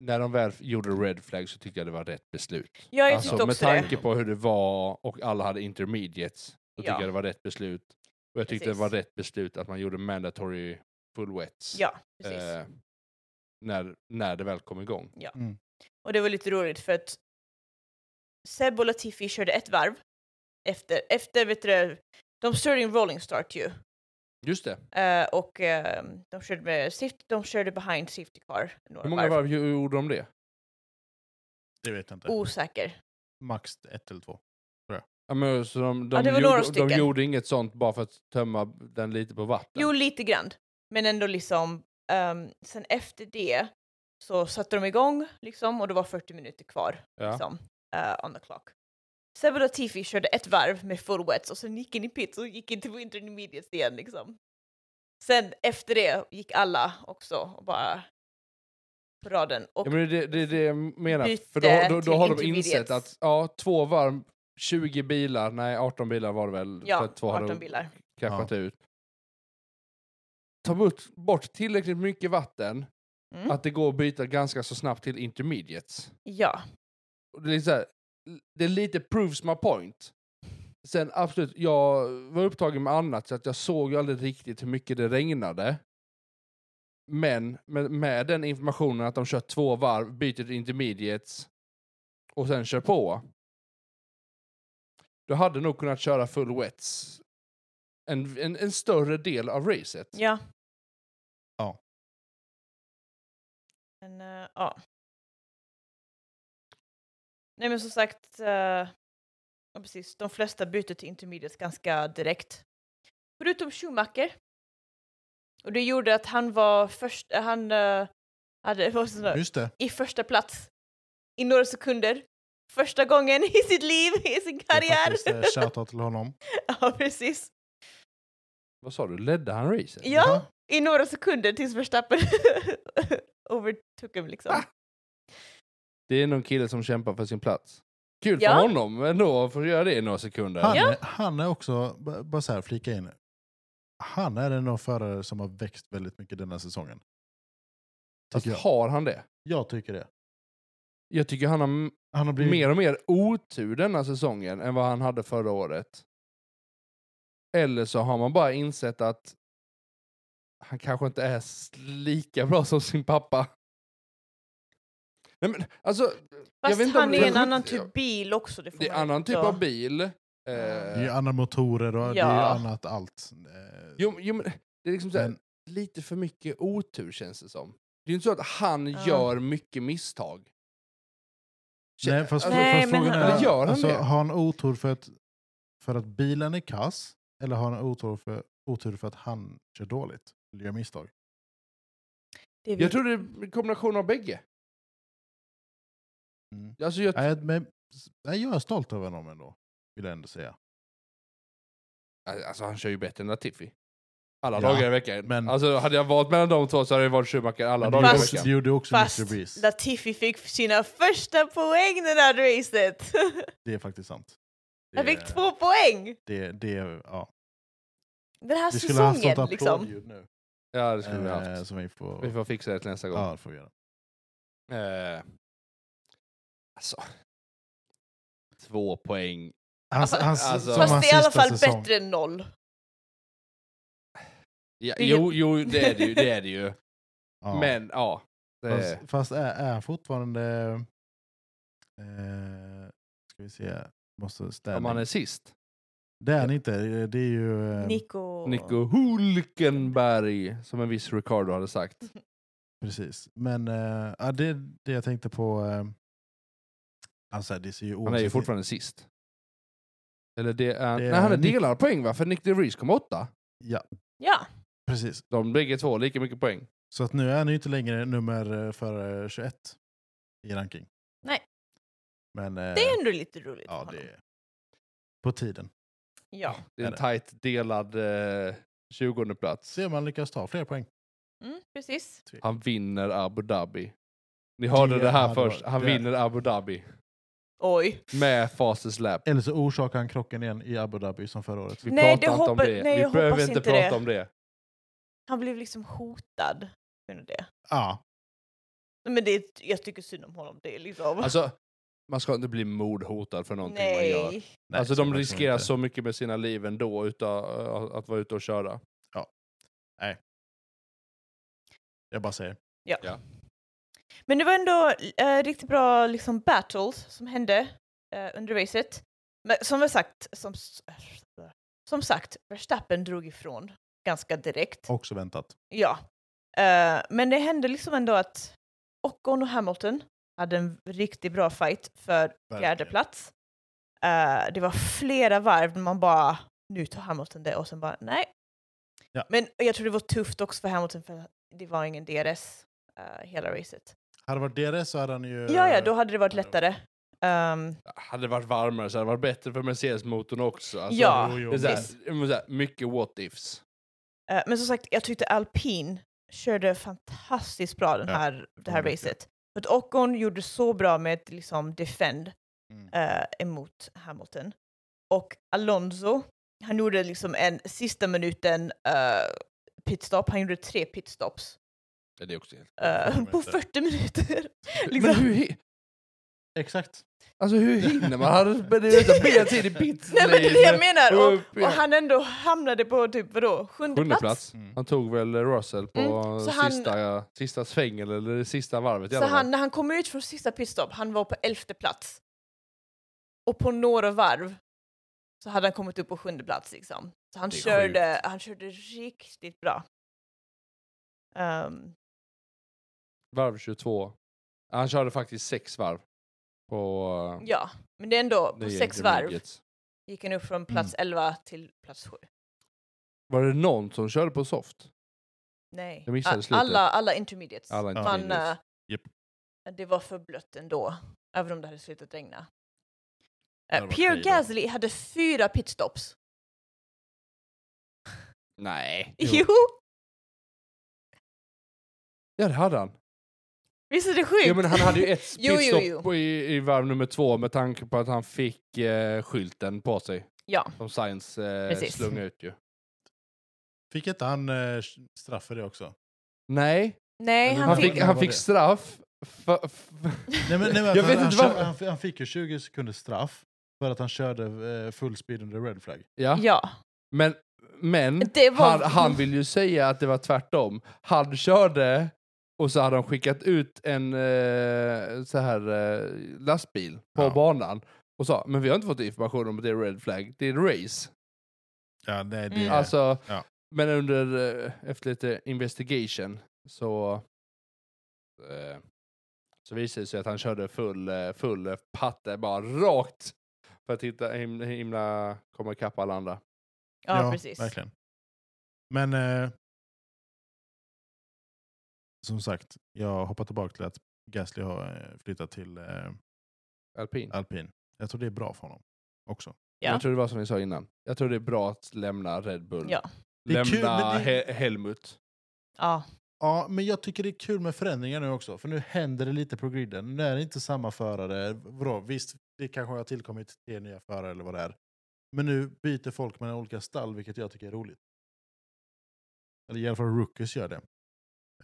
S3: när de väl gjorde red flag så tyckte jag det var rätt beslut.
S2: ja, jag typ tyckte
S3: Alltså, med
S2: också det.
S3: tanke på hur det var och alla hade intermediates så tyckte
S2: Ja.
S3: jag det var rätt beslut. Och jag tyckte
S2: Precis.
S3: det var rätt beslut att man gjorde mandatory full wets
S2: Ja, precis.
S3: eh, när, när det väl kom igång.
S2: Och det var lite roligt för att Seb och Latifi körde ett varv efter, efter vet du, det, de körde en rolling start ju.
S3: Just det.
S2: Eh, och ehm, de, körde med safety, de körde behind safety car. Några
S3: Hur många varv gjorde de det?
S1: Det vet jag inte.
S2: Osäker.
S1: Max ett eller två.
S3: Ja, men, så de, de,
S2: Ja, det var några
S3: gjorde, de
S2: stycken.
S3: gjorde inget sånt bara för att tömma den lite på vatten?
S2: Jo, lite grann. Men ändå liksom, ehm, sen efter det så satte de igång liksom och det var 40 minuter kvar
S3: ja.
S2: liksom, eh, on the clock. Seb och Latifi körde ett varv med full wets och sen gick in i pits och gick in till intermediates igen liksom. Sen efter det gick alla också och bara på raden. Och
S3: Ja, men det, det, det jag menar,
S2: Byte
S3: för då, då,
S2: till
S3: då har de
S2: intermediates.
S3: insett att ja, två varv, 20 bilar, nej 18 bilar var det väl? för
S2: ja,
S3: att två
S2: 18
S3: hade
S2: bilar.
S3: cashat ut. Ta bort, bort tillräckligt mycket vatten,
S2: Mm.
S3: att det går att byta ganska så snabbt till intermediates.
S2: Ja,
S3: Och det, är så här, det är lite proves my point. Sen absolut, jag var upptagen med annat så att jag såg ju aldrig riktigt hur mycket det regnade. Men med, med den informationen att de kör två varv, byter till intermediates och sen kör på. Du hade nog kunnat köra full wets en, en, en större del av racet.
S2: ja.
S1: Ja.
S2: Men, eh, ja. Nej men som sagt, eh, ja, precis, de flesta byter till intermediates ganska direkt. Förutom Schumacher. Och det gjorde att han var först, eh, han eh, hade, var sån där,
S1: Just det.
S2: i första plats i några sekunder. Första gången i sitt liv, i sin
S1: det är
S2: karriär.
S1: faktiskt, eh, Shoutout till honom.
S2: ja, precis.
S3: Vad sa du, ledde han racet?
S2: Ja, i några sekunder tills Verstappen overtook him liksom.
S3: Det är någon kille som kämpar för sin plats. Kul
S2: Ja.
S3: för honom ändå att få göra det i några sekunder.
S1: Han,
S2: Ja.
S1: är, han är också, b- bara så här flika in, han är en av förare som har växt väldigt mycket denna säsongen.
S3: Fast
S1: Tycker jag.
S3: har han det?
S1: Jag tycker det.
S3: Jag tycker han har m-
S1: Han har blivit,
S3: mer och mer otur denna säsongen än vad han hade förra året. Eller så har man bara insett att han kanske inte är s- lika bra som sin pappa. Nej men alltså,
S2: Fast
S3: vet inte om
S2: han
S3: det-
S2: är en annan typ bil också. Det, får
S3: det är
S2: man
S3: annan
S2: inte-
S3: typ av bil. Eh,
S1: det är ju andra motorer och det är
S2: Ja.
S1: ju annat allt. Eh,
S3: jo, jo, men det är liksom så här,
S1: Men-
S3: lite för mycket otur känns det som. Det är ju inte så att han
S2: Ja.
S3: gör mycket misstag. alltså,
S1: Nej, fast,
S2: Nej,
S1: fast
S2: men
S1: frågan
S2: han-
S1: är,
S2: Men
S3: gör han
S1: alltså,
S3: det?
S1: har han otur för att, för att bilen är kass eller har han otur för, otur för att han kör dåligt? Eller gör misstag?
S2: Det är vi-
S3: Jag tror det är en kombination av bägge.
S1: Mm.
S3: Alltså jag,
S1: Nej, men, nej, jag är stolt över honom ändå, vill jag ändå säga.
S3: alltså han kör ju bättre än Latifi. Alla
S1: Ja,
S3: dagar i veckan.
S1: men-
S3: Alltså hade jag valt mellan de två så hade jag valt Schumacher alla
S1: Men
S3: dagar
S1: det,
S3: i
S2: Fast-
S1: gjorde- det
S3: veckan.
S1: gjorde också
S2: Fast
S1: Mr. Beast.
S2: Latifi fick sina första poäng det här racet.
S1: Det är faktiskt sant. Det,
S2: Han fick två poäng
S1: Det, det, ja.
S2: den här
S1: Vi skulle ha haft sånt
S2: säsongen. Liksom.
S1: applådljud nu.
S3: Ja det skulle vi
S1: Eh,
S3: haft.
S1: Som vi får...
S3: Vi får fixa det till nästa gång.
S1: Ja, det får vi göra.
S3: Eh, alltså. Två poäng.
S1: Hans,
S2: Alltså-
S1: hans,
S3: Alltså-
S1: som
S2: Fast
S1: hans
S2: det är i alla
S1: sista
S2: fall
S1: säsong.
S2: bättre än noll.
S3: Ja,
S2: Det är-
S3: jo, jo det, är det, ju, det är det ju.
S1: Ja.
S3: Men eh. ja. Det,
S1: Fast, fast är, är han fortfarande... Eh, ska vi se. Måste ställa.
S3: om han är sist.
S1: Det är han inte. Det är ju... eh,
S2: Nico.
S3: Nico Hulkenberg, som en viss Ricardo hade sagt.
S1: Precis. Men eh, ja, det, det jag tänkte på... Eh, alltså, det ser ju
S3: Han är ju
S1: oavsett-
S3: fortfarande sist. Eller det är...
S1: Det är
S3: Nej, han är
S1: Nick-
S3: delad poäng va? För Nick DeVries kom åtta.
S1: Ja,
S2: Ja,
S1: precis.
S3: De bägge två har lika mycket poäng.
S1: Så att nu är han ju inte längre nummer eh, för eh, 21 i ranking.
S2: Nej.
S1: Men... eh,
S2: det är ändå lite roligt.
S1: Ja,
S2: för
S1: det
S2: honom.
S1: är på tiden.
S2: ja.
S3: Det är
S1: Är
S3: en
S1: det?
S3: tajt delad eh, 20 plats.
S1: Se om han lyckas ta fler poäng.
S2: Mm, precis.
S3: Han vinner Abu Dhabi. Ni hörde det,
S1: Det
S3: här
S1: hade varit-
S3: först. Han
S1: det-
S3: vinner Abu Dhabi.
S2: Oj.
S3: Med fastest lap.
S1: Eller så orsakar han krocken igen i Abu Dhabi som förra året.
S3: Vi
S2: Nej,
S3: pratar
S2: det
S3: inte om
S2: hoppas-
S3: det.
S2: nej,
S3: Vi
S2: jag
S3: behöver
S2: hoppas
S3: inte
S2: inte
S3: prata
S2: det.
S3: om det.
S2: Han blev liksom hotad under det.
S1: Ja,
S2: Nej, Men det, är- jag tycker synd om honom. Det är liksom...
S3: Alltså, man ska inte bli mordhotad för någonting man gör.
S2: nej.
S1: nej,
S3: alltså
S1: så
S3: de
S1: verkligen
S3: riskerar
S1: inte.
S3: så mycket med sina liv ändå utav, eh, att vara ute och köra.
S1: Jag bara säger.
S2: Ja.
S3: Ja.
S2: Men det var ändå eh, riktigt bra liksom, battles som hände eh, under racet. Men som jag sagt, som, s- som sagt, Verstappen drog ifrån ganska direkt.
S1: Också väntat.
S2: Ja. Eh, men det hände liksom ändå att Ocon och Hamilton hade en riktigt bra fight för fjärde
S1: Verkligen.
S2: plats. Eh, det var flera varv där man bara, nu tar Hamilton det och sen bara nej.
S1: Ja.
S2: Men jag tror det var tufft också för Hamilton för det var ingen DRS eh, hela racet.
S1: Hade det varit DRS så hade han ju...
S2: Ja, ja, då hade det varit
S1: Eh, ja, det var-
S2: lättare. Ehm,
S3: Hade det varit varmare så hade det varit bättre för Mercedes-motorn också. Alltså,
S2: Ja,
S1: Jo, jo,
S3: det är så här,
S1: visst.
S3: men så här, mycket what-ifs.
S2: Eh, Men som sagt, jag tyckte alpin körde fantastiskt bra den
S1: Ja,
S2: här, det här
S1: de vet
S2: racet. För att Ocon gjorde så bra med ett liksom defend
S1: Mm.
S2: eh, emot Hamilton. Och Alonso, han gjorde liksom en sista minuten eh, pitstop, han gjorde tre pitstops
S3: Ja, Det är också helt...
S2: eh,
S1: Fyrtio
S2: på
S1: minuter.
S2: 40 minuter.
S3: Men
S2: liksom.
S3: hur, hi-
S1: Exakt.
S3: alltså, hur hinner man? Han hade utan mer tid i pits
S2: Nej men det är det jag menar!
S3: Upp
S2: Och,
S3: igen.
S2: och han ändå hamnade på typ vadå, sjunde,
S3: Sjunde
S2: plats?
S3: plats.
S1: Mm.
S3: Han tog väl Russell på
S2: Mm, så han-
S3: sista, sista svängen eller det sista varvet i
S2: Så
S3: alla fall.
S2: han, när han kom ut från sista pitstop, han var på elfte plats. Och på några varv så hade han kommit upp på sjunde plats liksom. Så han,
S3: Det är
S2: körde, han körde riktigt bra. Ehm,
S3: Varv 22. Han körde faktiskt sex varv. På, eh,
S2: ja, men det är ändå, på
S3: det är
S2: sex
S3: The
S2: varv
S3: Midgets.
S2: gick han upp
S3: Mm.
S2: från plats 11 till plats 7.
S3: Var det någon som körde på soft?
S2: Nej,
S3: Jag missade
S2: A-
S3: slutet.
S2: alla, alla intermediates.
S3: Alla
S1: Ja.
S2: Man,
S3: intermediates.
S2: eh,
S1: Japp.
S2: Det var för blött ändå, även om det hade slutat regna.
S1: hade
S2: Eh,
S1: varit
S2: Pierre
S1: okej då.
S2: Gasly hade fyra pitstops.
S3: Nej.
S2: Jo,
S3: Ja, det hade han.
S2: visst är det sjukt?
S3: Ja, men han hade ju ett
S2: Jo, jo,
S3: pitstop
S2: jo.
S3: på- I, i varv nummer två med tanke på att han fick eh, skylten på sig.
S2: Ja.
S3: Som Sainz eh,
S2: Precis.
S3: slungade ut ju.
S1: Fick inte han eh, straff för det också?
S3: Nej,
S2: Nej,
S1: Han
S2: han,
S3: han
S2: fick...
S3: fick, han fick straff. För,
S1: Nej, men, nej, men
S3: Jag
S1: alltså,
S3: vet
S1: han,
S3: inte
S1: han,
S3: varför.
S1: kör- han, fi- han fick ju 20 sekunders straff för att han körde eh, full speed under red flag.
S3: ja.
S2: Ja.
S3: Men, men
S2: Det var-
S3: Mm. han, han vill ju säga att det var tvärtom. Han körde och så hade han skickat ut en eh, så här, eh, lastbil på
S1: Ja.
S3: banan och sa men vi har inte fått information om att det är red flag, det är race.
S1: Ja, nej, det,
S2: Mm.
S3: Alltså,
S1: Ja.
S3: Men under, eh, efter lite investigation så, eh, så visade det sig att han körde full, eh, full patte bara rakt för att hitta, himla, himla komma ikapp alla andra.
S2: Ja, precis.
S1: Verkligen. Men eh, som sagt, jag hoppar tillbaka till att Gasly har eh, flyttat till eh,
S3: Alpin.
S1: alpin. Jag tror det är bra för honom också.
S2: Ja.
S3: Jag tror det var som vi sa innan. Jag tror det är bra att lämna Red Bull.
S2: Ja.
S1: Det är
S3: Lämna
S1: kul, men det-
S3: He- Helmut.
S2: Ja.
S1: Ja, men jag tycker det är kul med förändringar nu också, för nu händer det lite på griden. Nu är det inte samma förare. Vadå, visst, det kanske har tillkommit tre nya förare eller vad det är. Men nu byter folk mellan olika stall, vilket jag tycker är roligt. Eller i alla fall rookies gör det.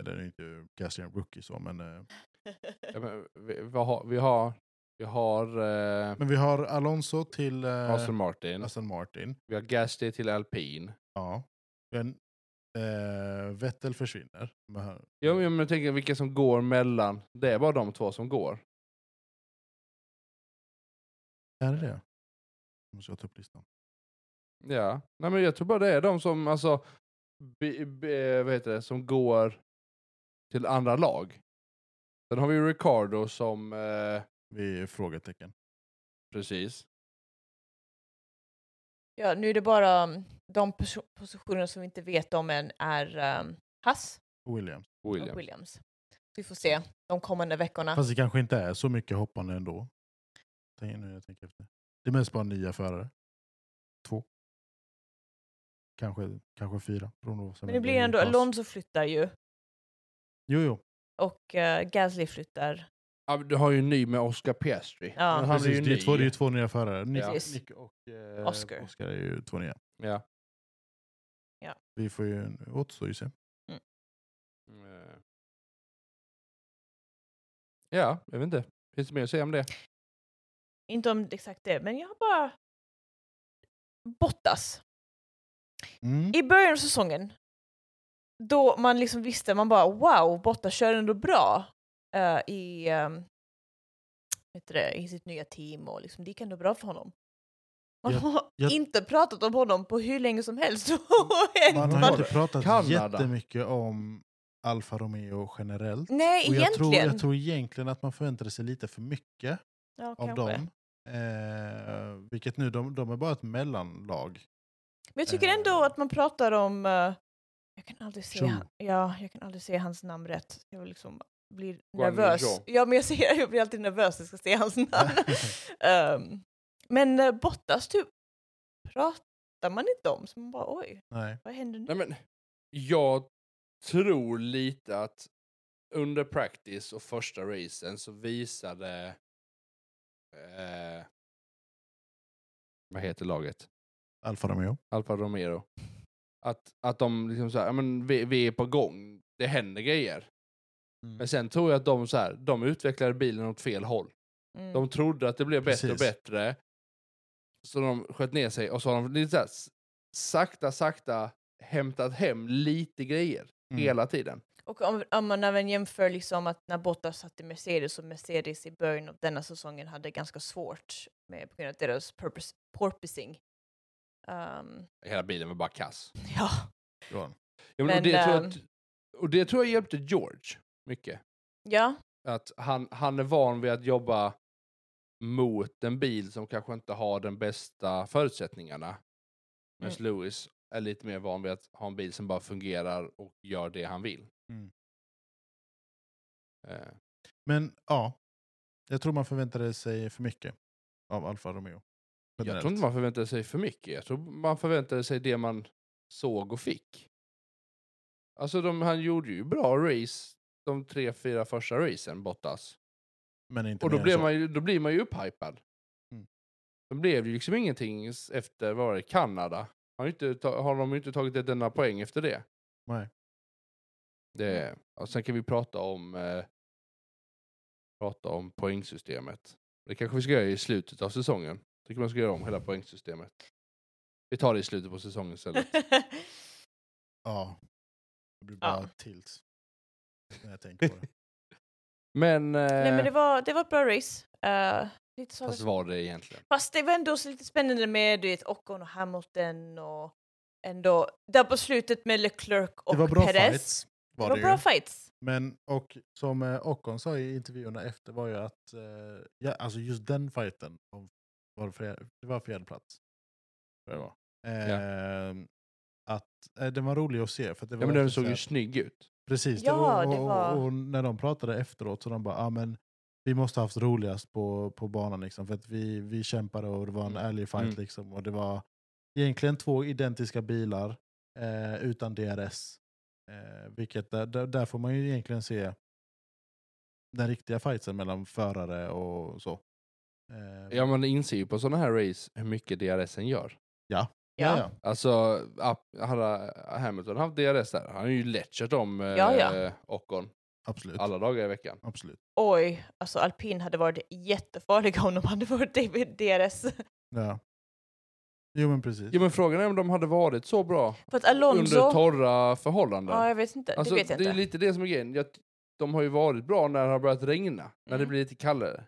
S1: Eller det är inte Gasly en rookie så, men... Eh,
S3: Ja, men vi, vi har, vi har, vi har eh,
S1: Men vi har Alonso till eh,
S3: Aston Martin,
S1: Aston Martin.
S3: vi har Gasly till Alpin,
S1: Ja. Vi har Eh, Vettel försvinner. Men-
S3: Jo, men jag tänker vilka som går mellan. Det är bara de två som går.
S1: Är det det? Nu måste jag ta upp listan.
S3: Ja, nej men jag tror bara det är de som alltså, b, b, vad heter det, som går till andra lag. Sen har vi ju Ricardo som, eh,
S1: Vi är frågetecken.
S3: precis.
S2: Ja, nu är det bara um, de pos- positionerna som vi inte vet om än är um, Hass
S1: Williams.
S3: William.
S2: och Williams. Så vi får se de kommande veckorna.
S1: Fast det kanske inte är så mycket hoppande ändå. Tänk, nu när jag tänker efter. Det är mest bara nya förare. Två. Kanske, kanske fyra. beroende på vad som
S2: Men det
S1: händer
S2: blir
S1: i
S2: ändå,
S1: pass.
S2: Alonso flyttar ju
S1: Jo, jo.
S2: och eh, Gasly flyttar.
S3: Ja, men du har ju en ny med Oscar Piastri.
S2: Ja.
S3: Men
S1: Precis, det, är två, det är ju två nya förare. Nick,
S3: Ja.
S2: Precis.
S1: Nick och eh,
S2: Oscar.
S1: Oscar är ju två nya.
S3: Ja.
S1: Vi får ju, återstår ju att se.
S3: Eh. Ja, jag vet inte. Finns det mer att säga om det?
S2: Inte om exakt det, men jag har bara Bottas.
S1: Mm.
S2: I början av säsongen, då man liksom visste, man bara wow, Bottas kör ändå bra eh, i, um, vet du det, i sitt nya team och liksom, det gick ändå bra för honom. Man
S1: Ja,
S2: har
S1: jag-
S2: inte pratat om honom på hur länge som helst.
S1: Man
S3: Man-
S1: har inte pratat
S3: Kanada.
S1: jättemycket om Alfa Romeo generellt.
S2: Nej,
S1: Och jag, tror,
S2: egentligen.
S1: jag tror egentligen att man förväntade sig lite för mycket
S2: ja,
S1: av
S2: kanske.
S1: dem. Eh, vilket nu, de, de är bara ett mellanlag.
S2: Men jag tycker ändå
S1: Eh.
S2: att man pratar om... eh, jag, kan aldrig se,
S1: Zhou.
S2: han- ja, jag kan aldrig se hans namn rätt. Jag liksom blir
S3: Guan Yu
S2: nervös.
S3: Zhou.
S2: Ja, men jag, ser, jag blir alltid nervös när jag ska se hans namn. Ehm, men uh, Bottas typ pratar man inte om. Så man bara oj,
S1: Nej.
S2: vad händer nu?
S3: Nej, men jag tror lite att under practice och första racen så visade... Eh, vad heter laget?
S1: Alfa Romeo.
S3: Alfa Romero. Att, att de liksom så här, ja, men vi, vi är på gång, det händer grejer. Men sen tror jag att de, så här, de utvecklade bilen åt fel håll.
S2: Mm.
S3: De trodde att det blev bättre och
S1: Precis.
S3: bättre. Så de sköt ner sig och så har de lite så här, s- sakta, sakta hämtat hem lite grejer
S1: Mm.
S3: hela tiden.
S2: Och om, om man även jämför liksom att när Bottas satt i Mercedes och Mercedes i början av denna säsongen hade ganska svårt med, på grund av deras purpose, porpoising. Ehm,
S3: Hela bilen var bara kass.
S2: ja.
S1: Johan.
S3: Ja, men, och,
S2: Men,
S3: det tror jag,
S2: ehm,
S3: att- och det tror jag hjälpte George mycket.
S2: ja,
S3: Att han, han är van vid att jobba mot en bil som kanske inte har den bästa förutsättningarna. Medan Lewis är lite mer van vid att ha en bil som bara fungerar och gör det han vill.
S1: Mm.
S3: Eh,
S1: Men ja, jag tror man förväntade sig för mycket av Alfa Romeo.
S3: Jag tror inte man förväntade sig för mycket. Jag tror man förväntade sig det man såg och fick. Alltså de, han gjorde ju bra race de tre, fyra första racen, Bottas.
S1: Men inte
S3: Och då
S1: mer än
S3: blir,
S1: så.
S3: man ju, då blir man ju upphypad.
S1: Mm.
S3: Det blev ju liksom ingenting s- efter, vad var det, Kanada? Har, ju inte, ta- har de ju inte tagit ett enda poäng efter det?
S1: Nej. Mm.
S3: det och sen kan vi prata om, eh, prata om poängsystemet. Det kanske vi ska göra i slutet av säsongen. tycker man ska göra om hela poängsystemet. Vi tar det i slutet på säsongen istället.
S1: Ja. Det blir
S2: Ja.
S1: bara tilt. När jag tänker på det.
S3: Men, eh,
S2: Nej, men det var, det var ett bra race. Eh, lite så
S3: fast var det egentligen?
S2: Fast det var ändå så lite spännande med du vet, Ocon och Hamilton och ändå där på slutet med LeClerc och
S1: Det var bra
S2: Perez.
S1: fights.
S2: det
S1: Var
S2: var
S1: det ju.
S2: bra fights.
S1: Men och som eh, Ocon sa i intervjuerna efter var ju att eh, ja, alltså just den fighten om- var fjär, det var fjärde plats. tror jag Det var. Ehm, Att eh, den var rolig att se. För att det var
S3: Ja, men den
S1: verkligen
S3: såg
S1: så
S3: ju
S1: här-
S3: snygg ut.
S1: Precis,
S2: Ja,
S1: det var, och,
S2: det var-
S1: Och, och när de pratade efteråt så de bara, ah, men vi måste ha haft roligast på, på banan liksom, för att vi, vi kämpade och det var en
S3: Mm.
S1: ärlig fight
S3: Mm.
S1: liksom och det var egentligen två identiska bilar eh, utan DRS. Eh, vilket där, där, där får man ju egentligen se den riktiga fighten mellan förare och så. Eh,
S3: Ja, man inser ju på sådana här race hur mycket DRSen gör.
S1: ja,
S2: Ja.
S1: ja.
S3: Alltså, app- hade Hamilton haft DRS där, han har ju lätt kört om eh,
S2: Ja, ja.
S3: Ocon
S1: absolut.
S3: alla dagar i veckan.
S1: absolut.
S2: Oj, alltså alpin hade varit jättefarliga om de hade varit i DRS.
S1: Ja. Jo men precis.
S3: Jo men frågan är om de hade varit så bra
S2: För att Alonso...
S3: under torra förhållanden.
S2: ja, jag vet inte.
S3: Alltså,
S2: det vet jag
S3: det är
S2: inte.
S3: lite det som är grejen. Jag, de har ju varit bra när det har börjat regna, när det
S2: Mm.
S3: blir lite kallare.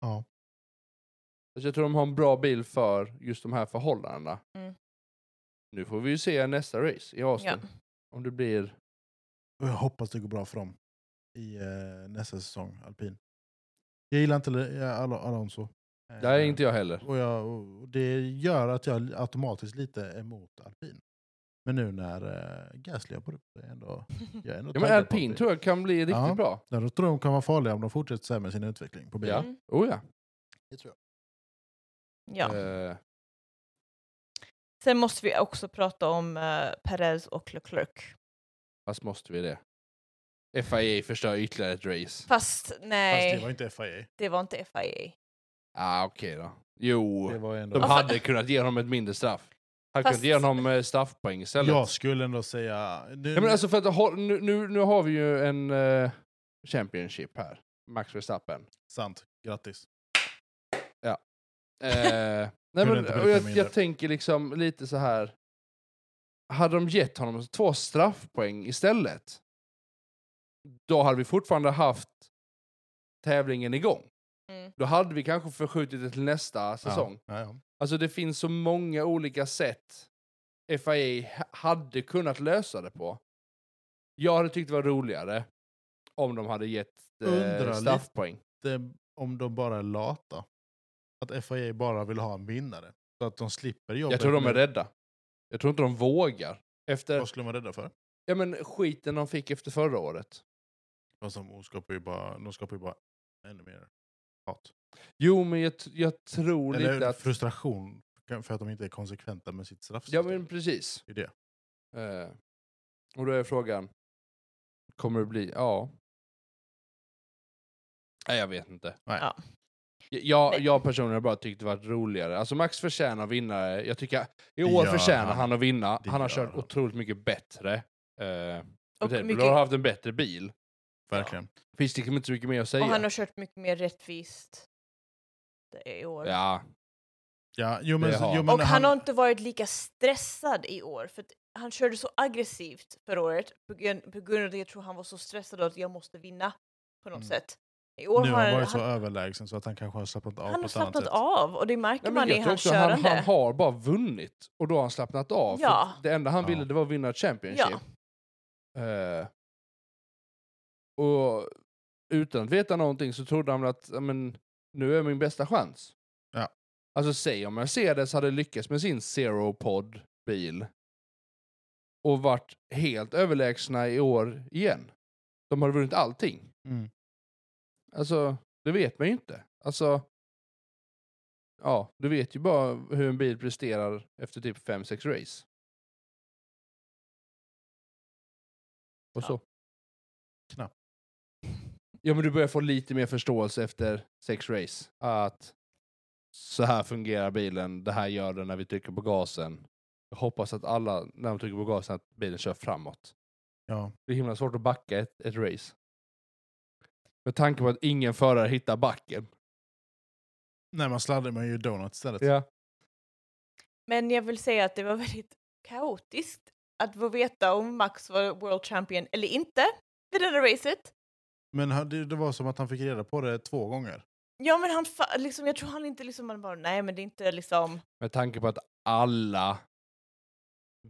S1: Ja.
S3: Alltså, jag tror de har en bra bil för just de här förhållandena.
S2: Mm.
S3: Nu får vi ju se nästa race i Austin.
S2: Ja.
S3: Om det blir...
S1: Och jag hoppas det går bra för dem i eh, nästa säsong, alpin. Jag gillar inte Le- eh, Al- Alonso. Eh,
S3: Det är inte jag heller.
S1: Och, jag, och det gör att jag automatiskt lite är emot alpin. Men nu när eh, Gasly har börjat upp det är ändå... Jag är
S2: Mm,
S1: ändå
S3: Ja, men
S1: taggad på
S3: alpin tror jag kan bli riktigt
S1: Ja.
S3: bra.
S1: Där tror jag de kan vara farliga om de fortsätter så här med sin utveckling på bilen.
S3: Ja.
S2: Mm.
S3: Oh ja.
S1: Det tror jag.
S2: Ja.
S3: Eh,
S2: Sen måste vi också prata om eh, Perez och Leclerc.
S3: fast måste vi det? FIA förstör ytterligare ett race.
S2: Fast nej,
S1: Fast det var inte FIA.
S2: inte FIA.
S3: Ah, okej då. Jo,
S1: Det var ändå...
S3: Oh. de
S2: Alltså-
S3: hade kunnat ge honom ett mindre straff. Han
S2: Fast-
S3: kunnat ge honom eh, straffpoäng istället.
S1: Jag skulle ändå säga... Nu,
S3: Ja, men alltså för att, ha- nu, nu, nu har vi ju en eh, Championship här, Max Verstappen.
S1: Sant. Grattis.
S3: Eh, nej,
S1: Kunde
S3: men,
S1: inte bryta
S3: och jag,
S1: mindre.
S3: jag tänker liksom lite så här. Hade de gett honom två straffpoäng istället, då hade vi fortfarande haft tävlingen igång.
S2: Mm.
S3: Då hade vi kanske förskjutit det till nästa säsong.
S1: Ja, ja, ja.
S3: Alltså det finns så många olika sätt FIA h- hade kunnat lösa det på. Jag hade tyckt det var roligare om de hade gett
S1: Undrar
S3: eh, straffpoäng.
S1: Det, om de bara är lata. Att FIA bara vill ha en vinnare. Så att de slipper jobbet.
S3: Jag tror de är
S1: med-
S3: rädda. Jag tror inte de vågar. Efter
S1: Vad skulle de vara rädda för?
S3: ja, men skiten de fick efter förra året.
S1: De som skapar ju bara, de skapar ju bara ännu mer hat.
S3: Jo, men jag, t- jag tror lite
S1: Eller
S3: att...
S1: frustration för att de inte är konsekventa med sitt
S3: Ja,
S1: straffsystem.
S3: men precis.
S1: Det är det.
S3: Eh, och då är frågan, kommer det bli... Ja. Nej, jag vet inte.
S1: Nej.
S2: Ja.
S3: Jag,
S2: Men-
S3: jag personligen har bara tyckt det varit roligare. Alltså Max förtjänar vinnare. Jag tycker i
S1: Det
S3: år
S1: gör
S3: förtjänar han.
S1: han.
S3: att vinna.
S1: Det
S3: han har
S1: gör
S3: kört
S1: han.
S3: otroligt mycket bättre. Uh,
S2: Och,
S3: Red Bull
S2: mycket,
S3: har haft en bättre bil.
S1: Verkligen.
S3: Finns det liksom inte så mycket mer att säga.
S2: och han har kört mycket mer rättvist det är i år.
S3: Ja,
S1: Ja, jo, men,
S3: Det har
S1: jo,
S2: och
S1: men
S2: han, har inte varit lika stressad i år. För att han körde så aggressivt förra året på grund, på grund av det jag tror han var så stressad av att jag måste vinna på något
S1: Mm.
S2: sätt. I år
S1: nu har
S2: har
S1: han varit så
S2: han,
S1: överlägsen så att han kanske har slappnat av
S2: han
S1: på
S2: har
S1: ett annat
S2: slappnat
S1: sätt.
S2: av och det märker
S3: Nej, men
S2: man i
S3: jag tror
S2: hans
S3: också han,
S2: körande.
S3: han har bara vunnit och då har han slappnat av. för
S2: Ja.
S3: Det enda han
S1: Ja.
S3: ville det var att vinna ett Championship. Eh, och utan att veta någonting så trodde han väl att ja, men, nu är min bästa chans.
S1: Ja.
S3: Alltså säg om Mercedes hade lyckats med sin Zero Pod bil och varit helt överlägsna i år igen. De hade vunnit allting.
S1: Mm.
S3: Alltså, det vet man ju inte. Alltså, ja, du vet ju bara hur en bil presterar efter typ 5-6 race. Och
S2: Ja.
S3: så.
S1: Knappt.
S3: Ja, men du börjar få lite mer förståelse efter 6 race. Att så här fungerar bilen, det här gör den när vi trycker på gasen. Jag hoppas att alla, när de trycker på gasen, att bilen kör framåt.
S1: Ja.
S3: Det är himla svårt att backa ett, ett race. Med tanke på att ingen förare hittar backen.
S1: Nej, man sladdar man ju donut istället.
S2: Men jag vill säga att det var väldigt kaotiskt att få veta om Max var world champion eller inte vid det där racet.
S1: Men han, det, det var som att han fick reda på det två gånger.
S2: Ja men han fa- liksom, jag tror han inte liksom, han bara nej men det är inte liksom,
S3: Med tanke på att alla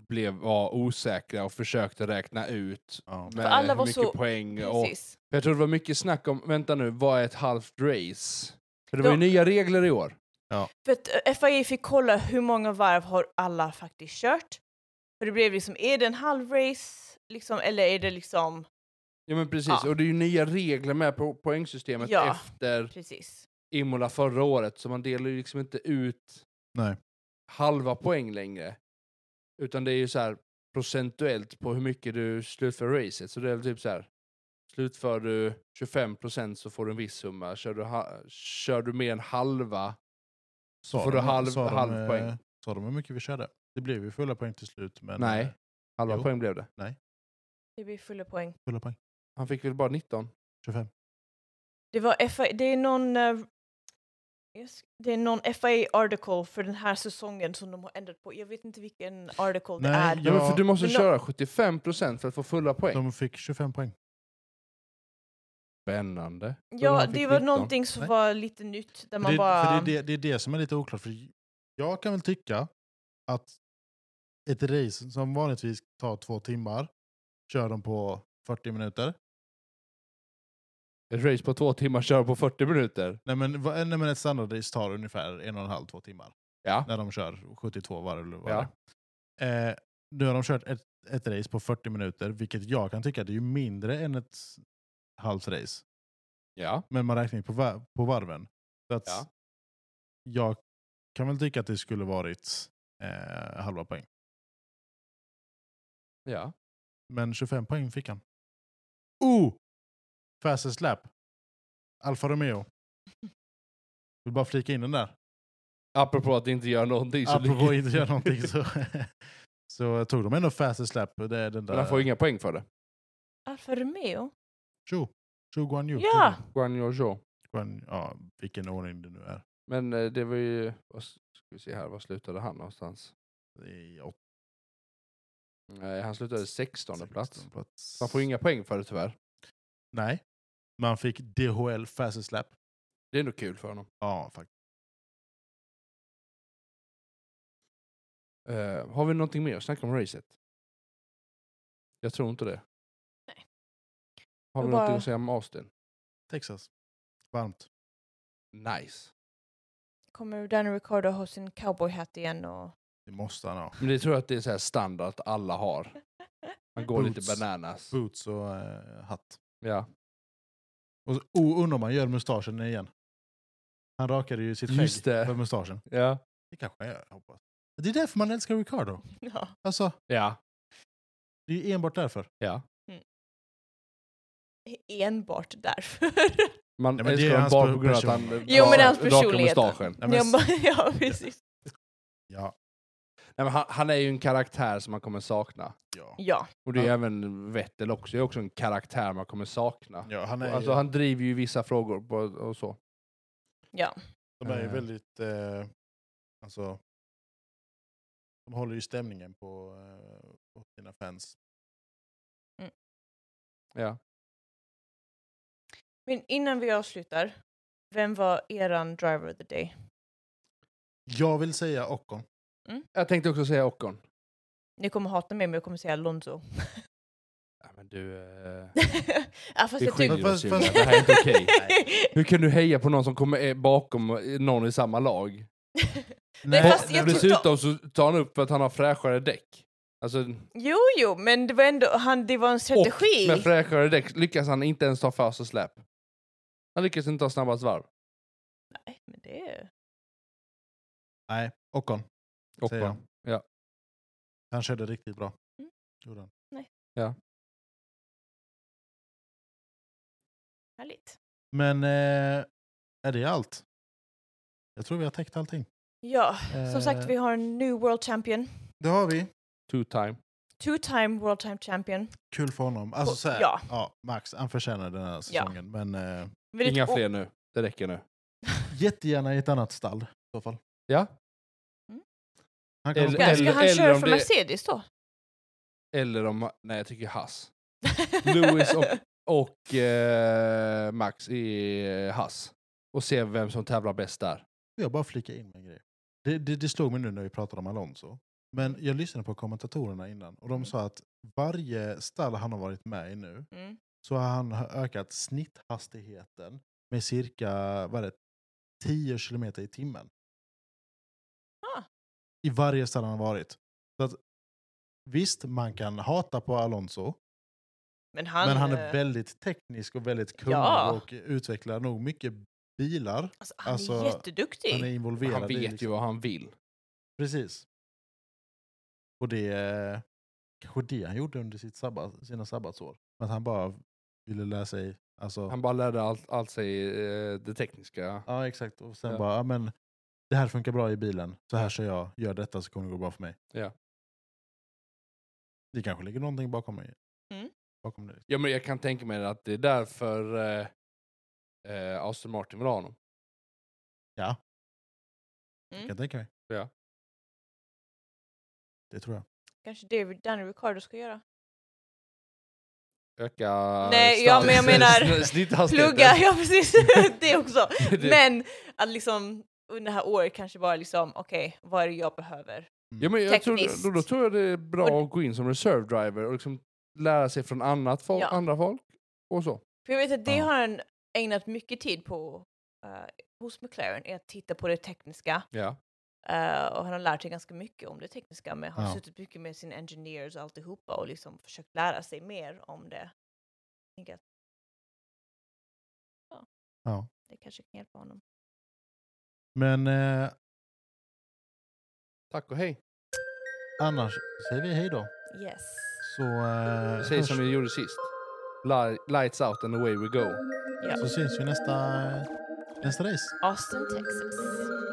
S3: blev, var osäkra och försökte räkna ut
S1: Ja.
S3: med
S2: alla var
S3: hur mycket
S2: så-
S3: poäng. Och,
S2: precis.
S3: jag tror det var mycket snack om, vänta nu, vad är ett halvt race? För det var ju
S2: Ja.
S3: nya regler i år.
S2: För att eh, FIA fick kolla hur många varv har alla faktiskt kört. För det blev liksom, är det en halv race liksom, eller är det liksom,
S3: Ja men precis,
S2: Ja.
S3: och det är ju nya regler med på poängsystemet
S2: Ja.
S3: efter
S2: precis.
S3: Imola förra året, så man delar ju liksom inte ut
S1: Nej.
S3: halva poäng längre. Utan det är ju så här procentuellt på hur mycket du slutför racet. Så det är väl typ så här. Slutför du 25 procent så får du en viss summa. Kör du, ha- kör du mer än halva.
S1: Sa
S3: Får du halv-
S1: sa
S3: halv
S1: eh,
S3: poäng?
S1: Sa de hur mycket vi körde? Det blev ju fulla poäng till slut. Men
S3: Nej.
S1: eh,
S3: Halva
S1: Jo.
S3: poäng blev det.
S2: Det blir fulla poäng.
S1: Fulla poäng.
S3: Han fick väl bara 19.
S1: 25.
S2: E, Det var FIA, det är någon eh, Yes. Det är någon FIA-article för den här säsongen som de har ändrat på. Jag vet inte vilken article det
S1: Nej,
S2: är.
S1: jag-
S3: Ja, men för du måste
S2: Men då-
S3: köra 75% för att få fulla poäng.
S1: De fick 25 poäng.
S3: Spännande. Tror
S2: Ja,
S3: han fick
S2: det var
S3: 19.
S2: någonting som
S1: Nej.
S2: var lite nytt där man
S1: det,
S2: bara...
S1: för det, är det, det är det som är lite oklart. För jag kan väl tycka att ett race som vanligtvis tar två timmar kör de på 40 minuter.
S3: Ett race på två timmar kör på 40 minuter.
S1: Nej men, va- nej, men ett standardrace tar ungefär en och en halv, två timmar.
S3: Ja.
S1: När de kör 72 varv eller vad
S3: Ja.
S1: det är. eh, Nu har de kört ett, ett race på 40 minuter, vilket jag kan tycka det är ju mindre än ett halvt race.
S3: ja.
S1: Men man räknar ju på, va- på varven. Så att
S3: Ja.
S1: Jag kan väl tycka att det skulle varit eh, halva poäng.
S3: ja.
S1: Men 25 poäng fick han. Oh! Fastest lap. Alfa Romeo. Vill bara flika in den där.
S3: Apropå att inte göra någonting så
S1: Apropå
S3: ligger-
S1: att inte göra någonting så, så tog de ändå fastest lap. Det är den
S3: Men han får
S1: där...
S3: ju inga poäng för det.
S2: Alfa Romeo?
S1: Chu. Chu Guan Yu.
S2: Ja!
S3: Guan Yu Zhou.
S1: Guan, ja, vilken ordning det nu är.
S3: Men eh, det var ju... Vad s- ska vi se här, var slutade han någonstans?
S1: I åttonde
S3: Nej, han slutade 16 plats.
S1: sextonde plats.
S3: Han får inga poäng för det tyvärr.
S1: Nej. Man fick DHL fastest lap.
S3: Det är nog kul för honom.
S1: Ja, faktiskt.
S3: Eh, har vi någonting mer att snacka om racet? Jag tror inte det.
S2: Nej.
S3: Har
S2: Jag
S3: du
S2: bara-
S3: någonting att säga om Austin?
S1: Texas. Varmt.
S3: Nice.
S2: Kommer Danny Ricardo ha sin cowboyhatt igen och...
S1: Det måste han ha.
S3: Men det tror jag att det är så här standard att alla har. Man går lite
S1: Boots.
S3: bananas.
S1: Boots och eh, hatt.
S3: Ja.
S1: Och så, oh, undrar om han gör mustaschen igen. Han rakade ju sitt
S3: Just
S1: skägg
S3: det.
S1: för mustaschen.
S3: Ja.
S1: Det kanske han gör, jag hoppas. Det är därför man älskar Ricardo.
S2: ja.
S1: Alltså,
S3: Ja.
S1: det är ju enbart därför.
S3: ja.
S2: Enbart därför.
S3: Man
S1: Nej, men det är
S3: älskar honom
S1: hans
S3: bara
S1: per-
S3: på grund av att han
S1: person.
S3: eh,
S2: Jo, men
S3: rakar-
S2: hans
S3: rakar
S2: personlighet.
S3: mustaschen.
S1: Nej, men
S2: Jag
S1: s-
S2: bara, ja, precis.
S1: Ja.
S3: Nej, men han, han är ju en karaktär som man kommer sakna.
S1: ja.
S2: Ja.
S3: Och det är
S1: Ja.
S3: även Vettel också. Det är också en karaktär man kommer sakna.
S1: ja han är,
S3: Alltså
S1: ju-
S3: han driver ju vissa frågor på, och så.
S2: Ja.
S1: de är ju
S3: eh.
S1: väldigt... Eh, alltså, de håller ju stämningen på, eh, på sina fans.
S3: Ja.
S2: Men innan vi avslutar, vem var eran driver of the day?
S1: Jag vill säga Ockon.
S2: Mm.
S3: Jag tänkte också säga Ockon.
S2: Ni kommer hata mig men jag kommer säga Alonso.
S3: Ja, men du, eh,
S2: Alltså, ja, fast
S3: vi
S2: jag tycker...
S3: skiljer oss
S1: Fast-
S3: ju. Det
S1: fast-
S3: här är inte okej. Hur kan du heja på någon som kommer eh, bakom eh, någon i samma lag?
S2: Nej,
S1: Nej,
S2: fast jag
S1: men
S3: Och
S1: du-
S2: tyckte-
S3: dessutom så tar han upp för att han har fräschare däck. Alltså,
S2: Jo, jo, men det var ändå, han, det var en strategi.
S3: Och med fräschare däck lyckas han inte ens ta första släp. Han lyckas inte ta snabbast varv.
S2: Nej, men det är...
S1: Nej, Ockon.
S3: Och
S1: Säger jag.
S3: Ja.
S1: Han körde riktigt bra.
S2: Mm.
S1: Gjorde han.
S2: Härligt.
S1: Men eh, är det allt? Jag tror vi har täckt allting.
S2: Ja, som sagt
S1: Eh,
S2: vi har en new world champion.
S1: Det har vi.
S3: two time.
S2: Two time world time champion.
S1: Kul för honom. Alltså,
S2: Och-
S1: så här,
S2: ja.
S1: ja. Max, han förtjänar den här säsongen. Men eh,
S2: Väldigt
S3: Inga
S2: o-
S3: fler nu. Det räcker nu.
S1: jättegärna i ett annat stall i så fall.
S3: Ja.
S1: Han kommer
S3: Eller-
S1: spela-
S2: Ja, Ska han
S3: eller
S2: köra
S3: om
S2: för
S3: det-
S2: Mercedes då?
S3: Eller om... Nej, jag tycker Hass. Lewis och, och eh, Max i eh, Hass. Och se vem som tävlar bäst där.
S1: jag bara flika in med en grej. Det, det, det slog mig nu när vi pratade om Alonso. Men jag lyssnade på kommentatorerna innan och de
S2: Mm.
S1: sa att varje stall han har varit med i nu
S2: Mm.
S1: så har han har ökat snitthastigheten med cirka vad är det, 10 kilometer i timmen.
S2: Ah.
S1: I varje stall han har varit. Så att, visst, man kan hata på Alonso,
S2: Men han,
S1: men han är
S2: eh,
S1: väldigt teknisk och väldigt kunnig
S2: Ja.
S1: och utvecklar nog mycket bilar.
S2: alltså, han är
S1: alltså,
S2: jätteduktig.
S1: Han är involverad
S3: Han
S1: i
S3: vet ju
S1: liksom-
S3: vad han vill.
S1: Precis. Och det är kanske det han gjorde under sitt sabbat, sina sabbatsår. Att han bara ville lära sig. Alltså,
S3: Han bara lärde allt, allt sig eh, det tekniska.
S1: Ja, exakt. Och sen
S3: Ja.
S1: bara, ja, men det här funkar bra i bilen. Så här kör jag. Gör detta så kommer det gå bra för mig.
S3: Ja.
S1: Det kanske ligger någonting bakom mig.
S2: Mm.
S1: Bakom det.
S3: Ja, men jag kan tänka mig att det är därför eh, eh, Aston Martin vill ha honom.
S1: Ja.
S2: Mm.
S1: Kan jag tänka mig.
S3: Ja.
S1: Det tror jag.
S2: Kanske David Danny Ricardo ska göra.
S3: Öka
S2: Nej, ja, men jag menar,
S3: snitthastigheten.
S2: Plugga, ja precis. det också.
S3: Det-
S2: Men att liksom under det här året kanske bara liksom, okej, vad är det jag behöver?
S3: Ja, men jag tror,
S2: Tekniskt.
S3: då, då tror jag det är bra att gå in som reserve driver och liksom lära sig från annat folk,
S2: Ja.
S3: andra folk och så.
S2: För jag vet att det
S1: Ja.
S2: har han ägnat mycket tid på eh, hos McLaren, är att titta på det tekniska.
S3: Ja.
S2: Eh, och han har lärt sig ganska mycket om det tekniska, men han har
S1: Ja.
S2: suttit mycket med sina engineers och alltihopa och liksom försökt lära sig mer om det. Jag tänker att
S1: Ja.
S2: det kanske kan hjälpa honom.
S1: Men eh,
S3: Tack och hej.
S1: annars säger vi hej då.
S2: Yes.
S1: Så, eh,
S3: Säg som
S1: hörs-
S3: vi gjorde sist. Li- Lights out and away we go.
S2: Ja.
S1: så syns vi nästa, nästa race.
S2: Austin, Texas.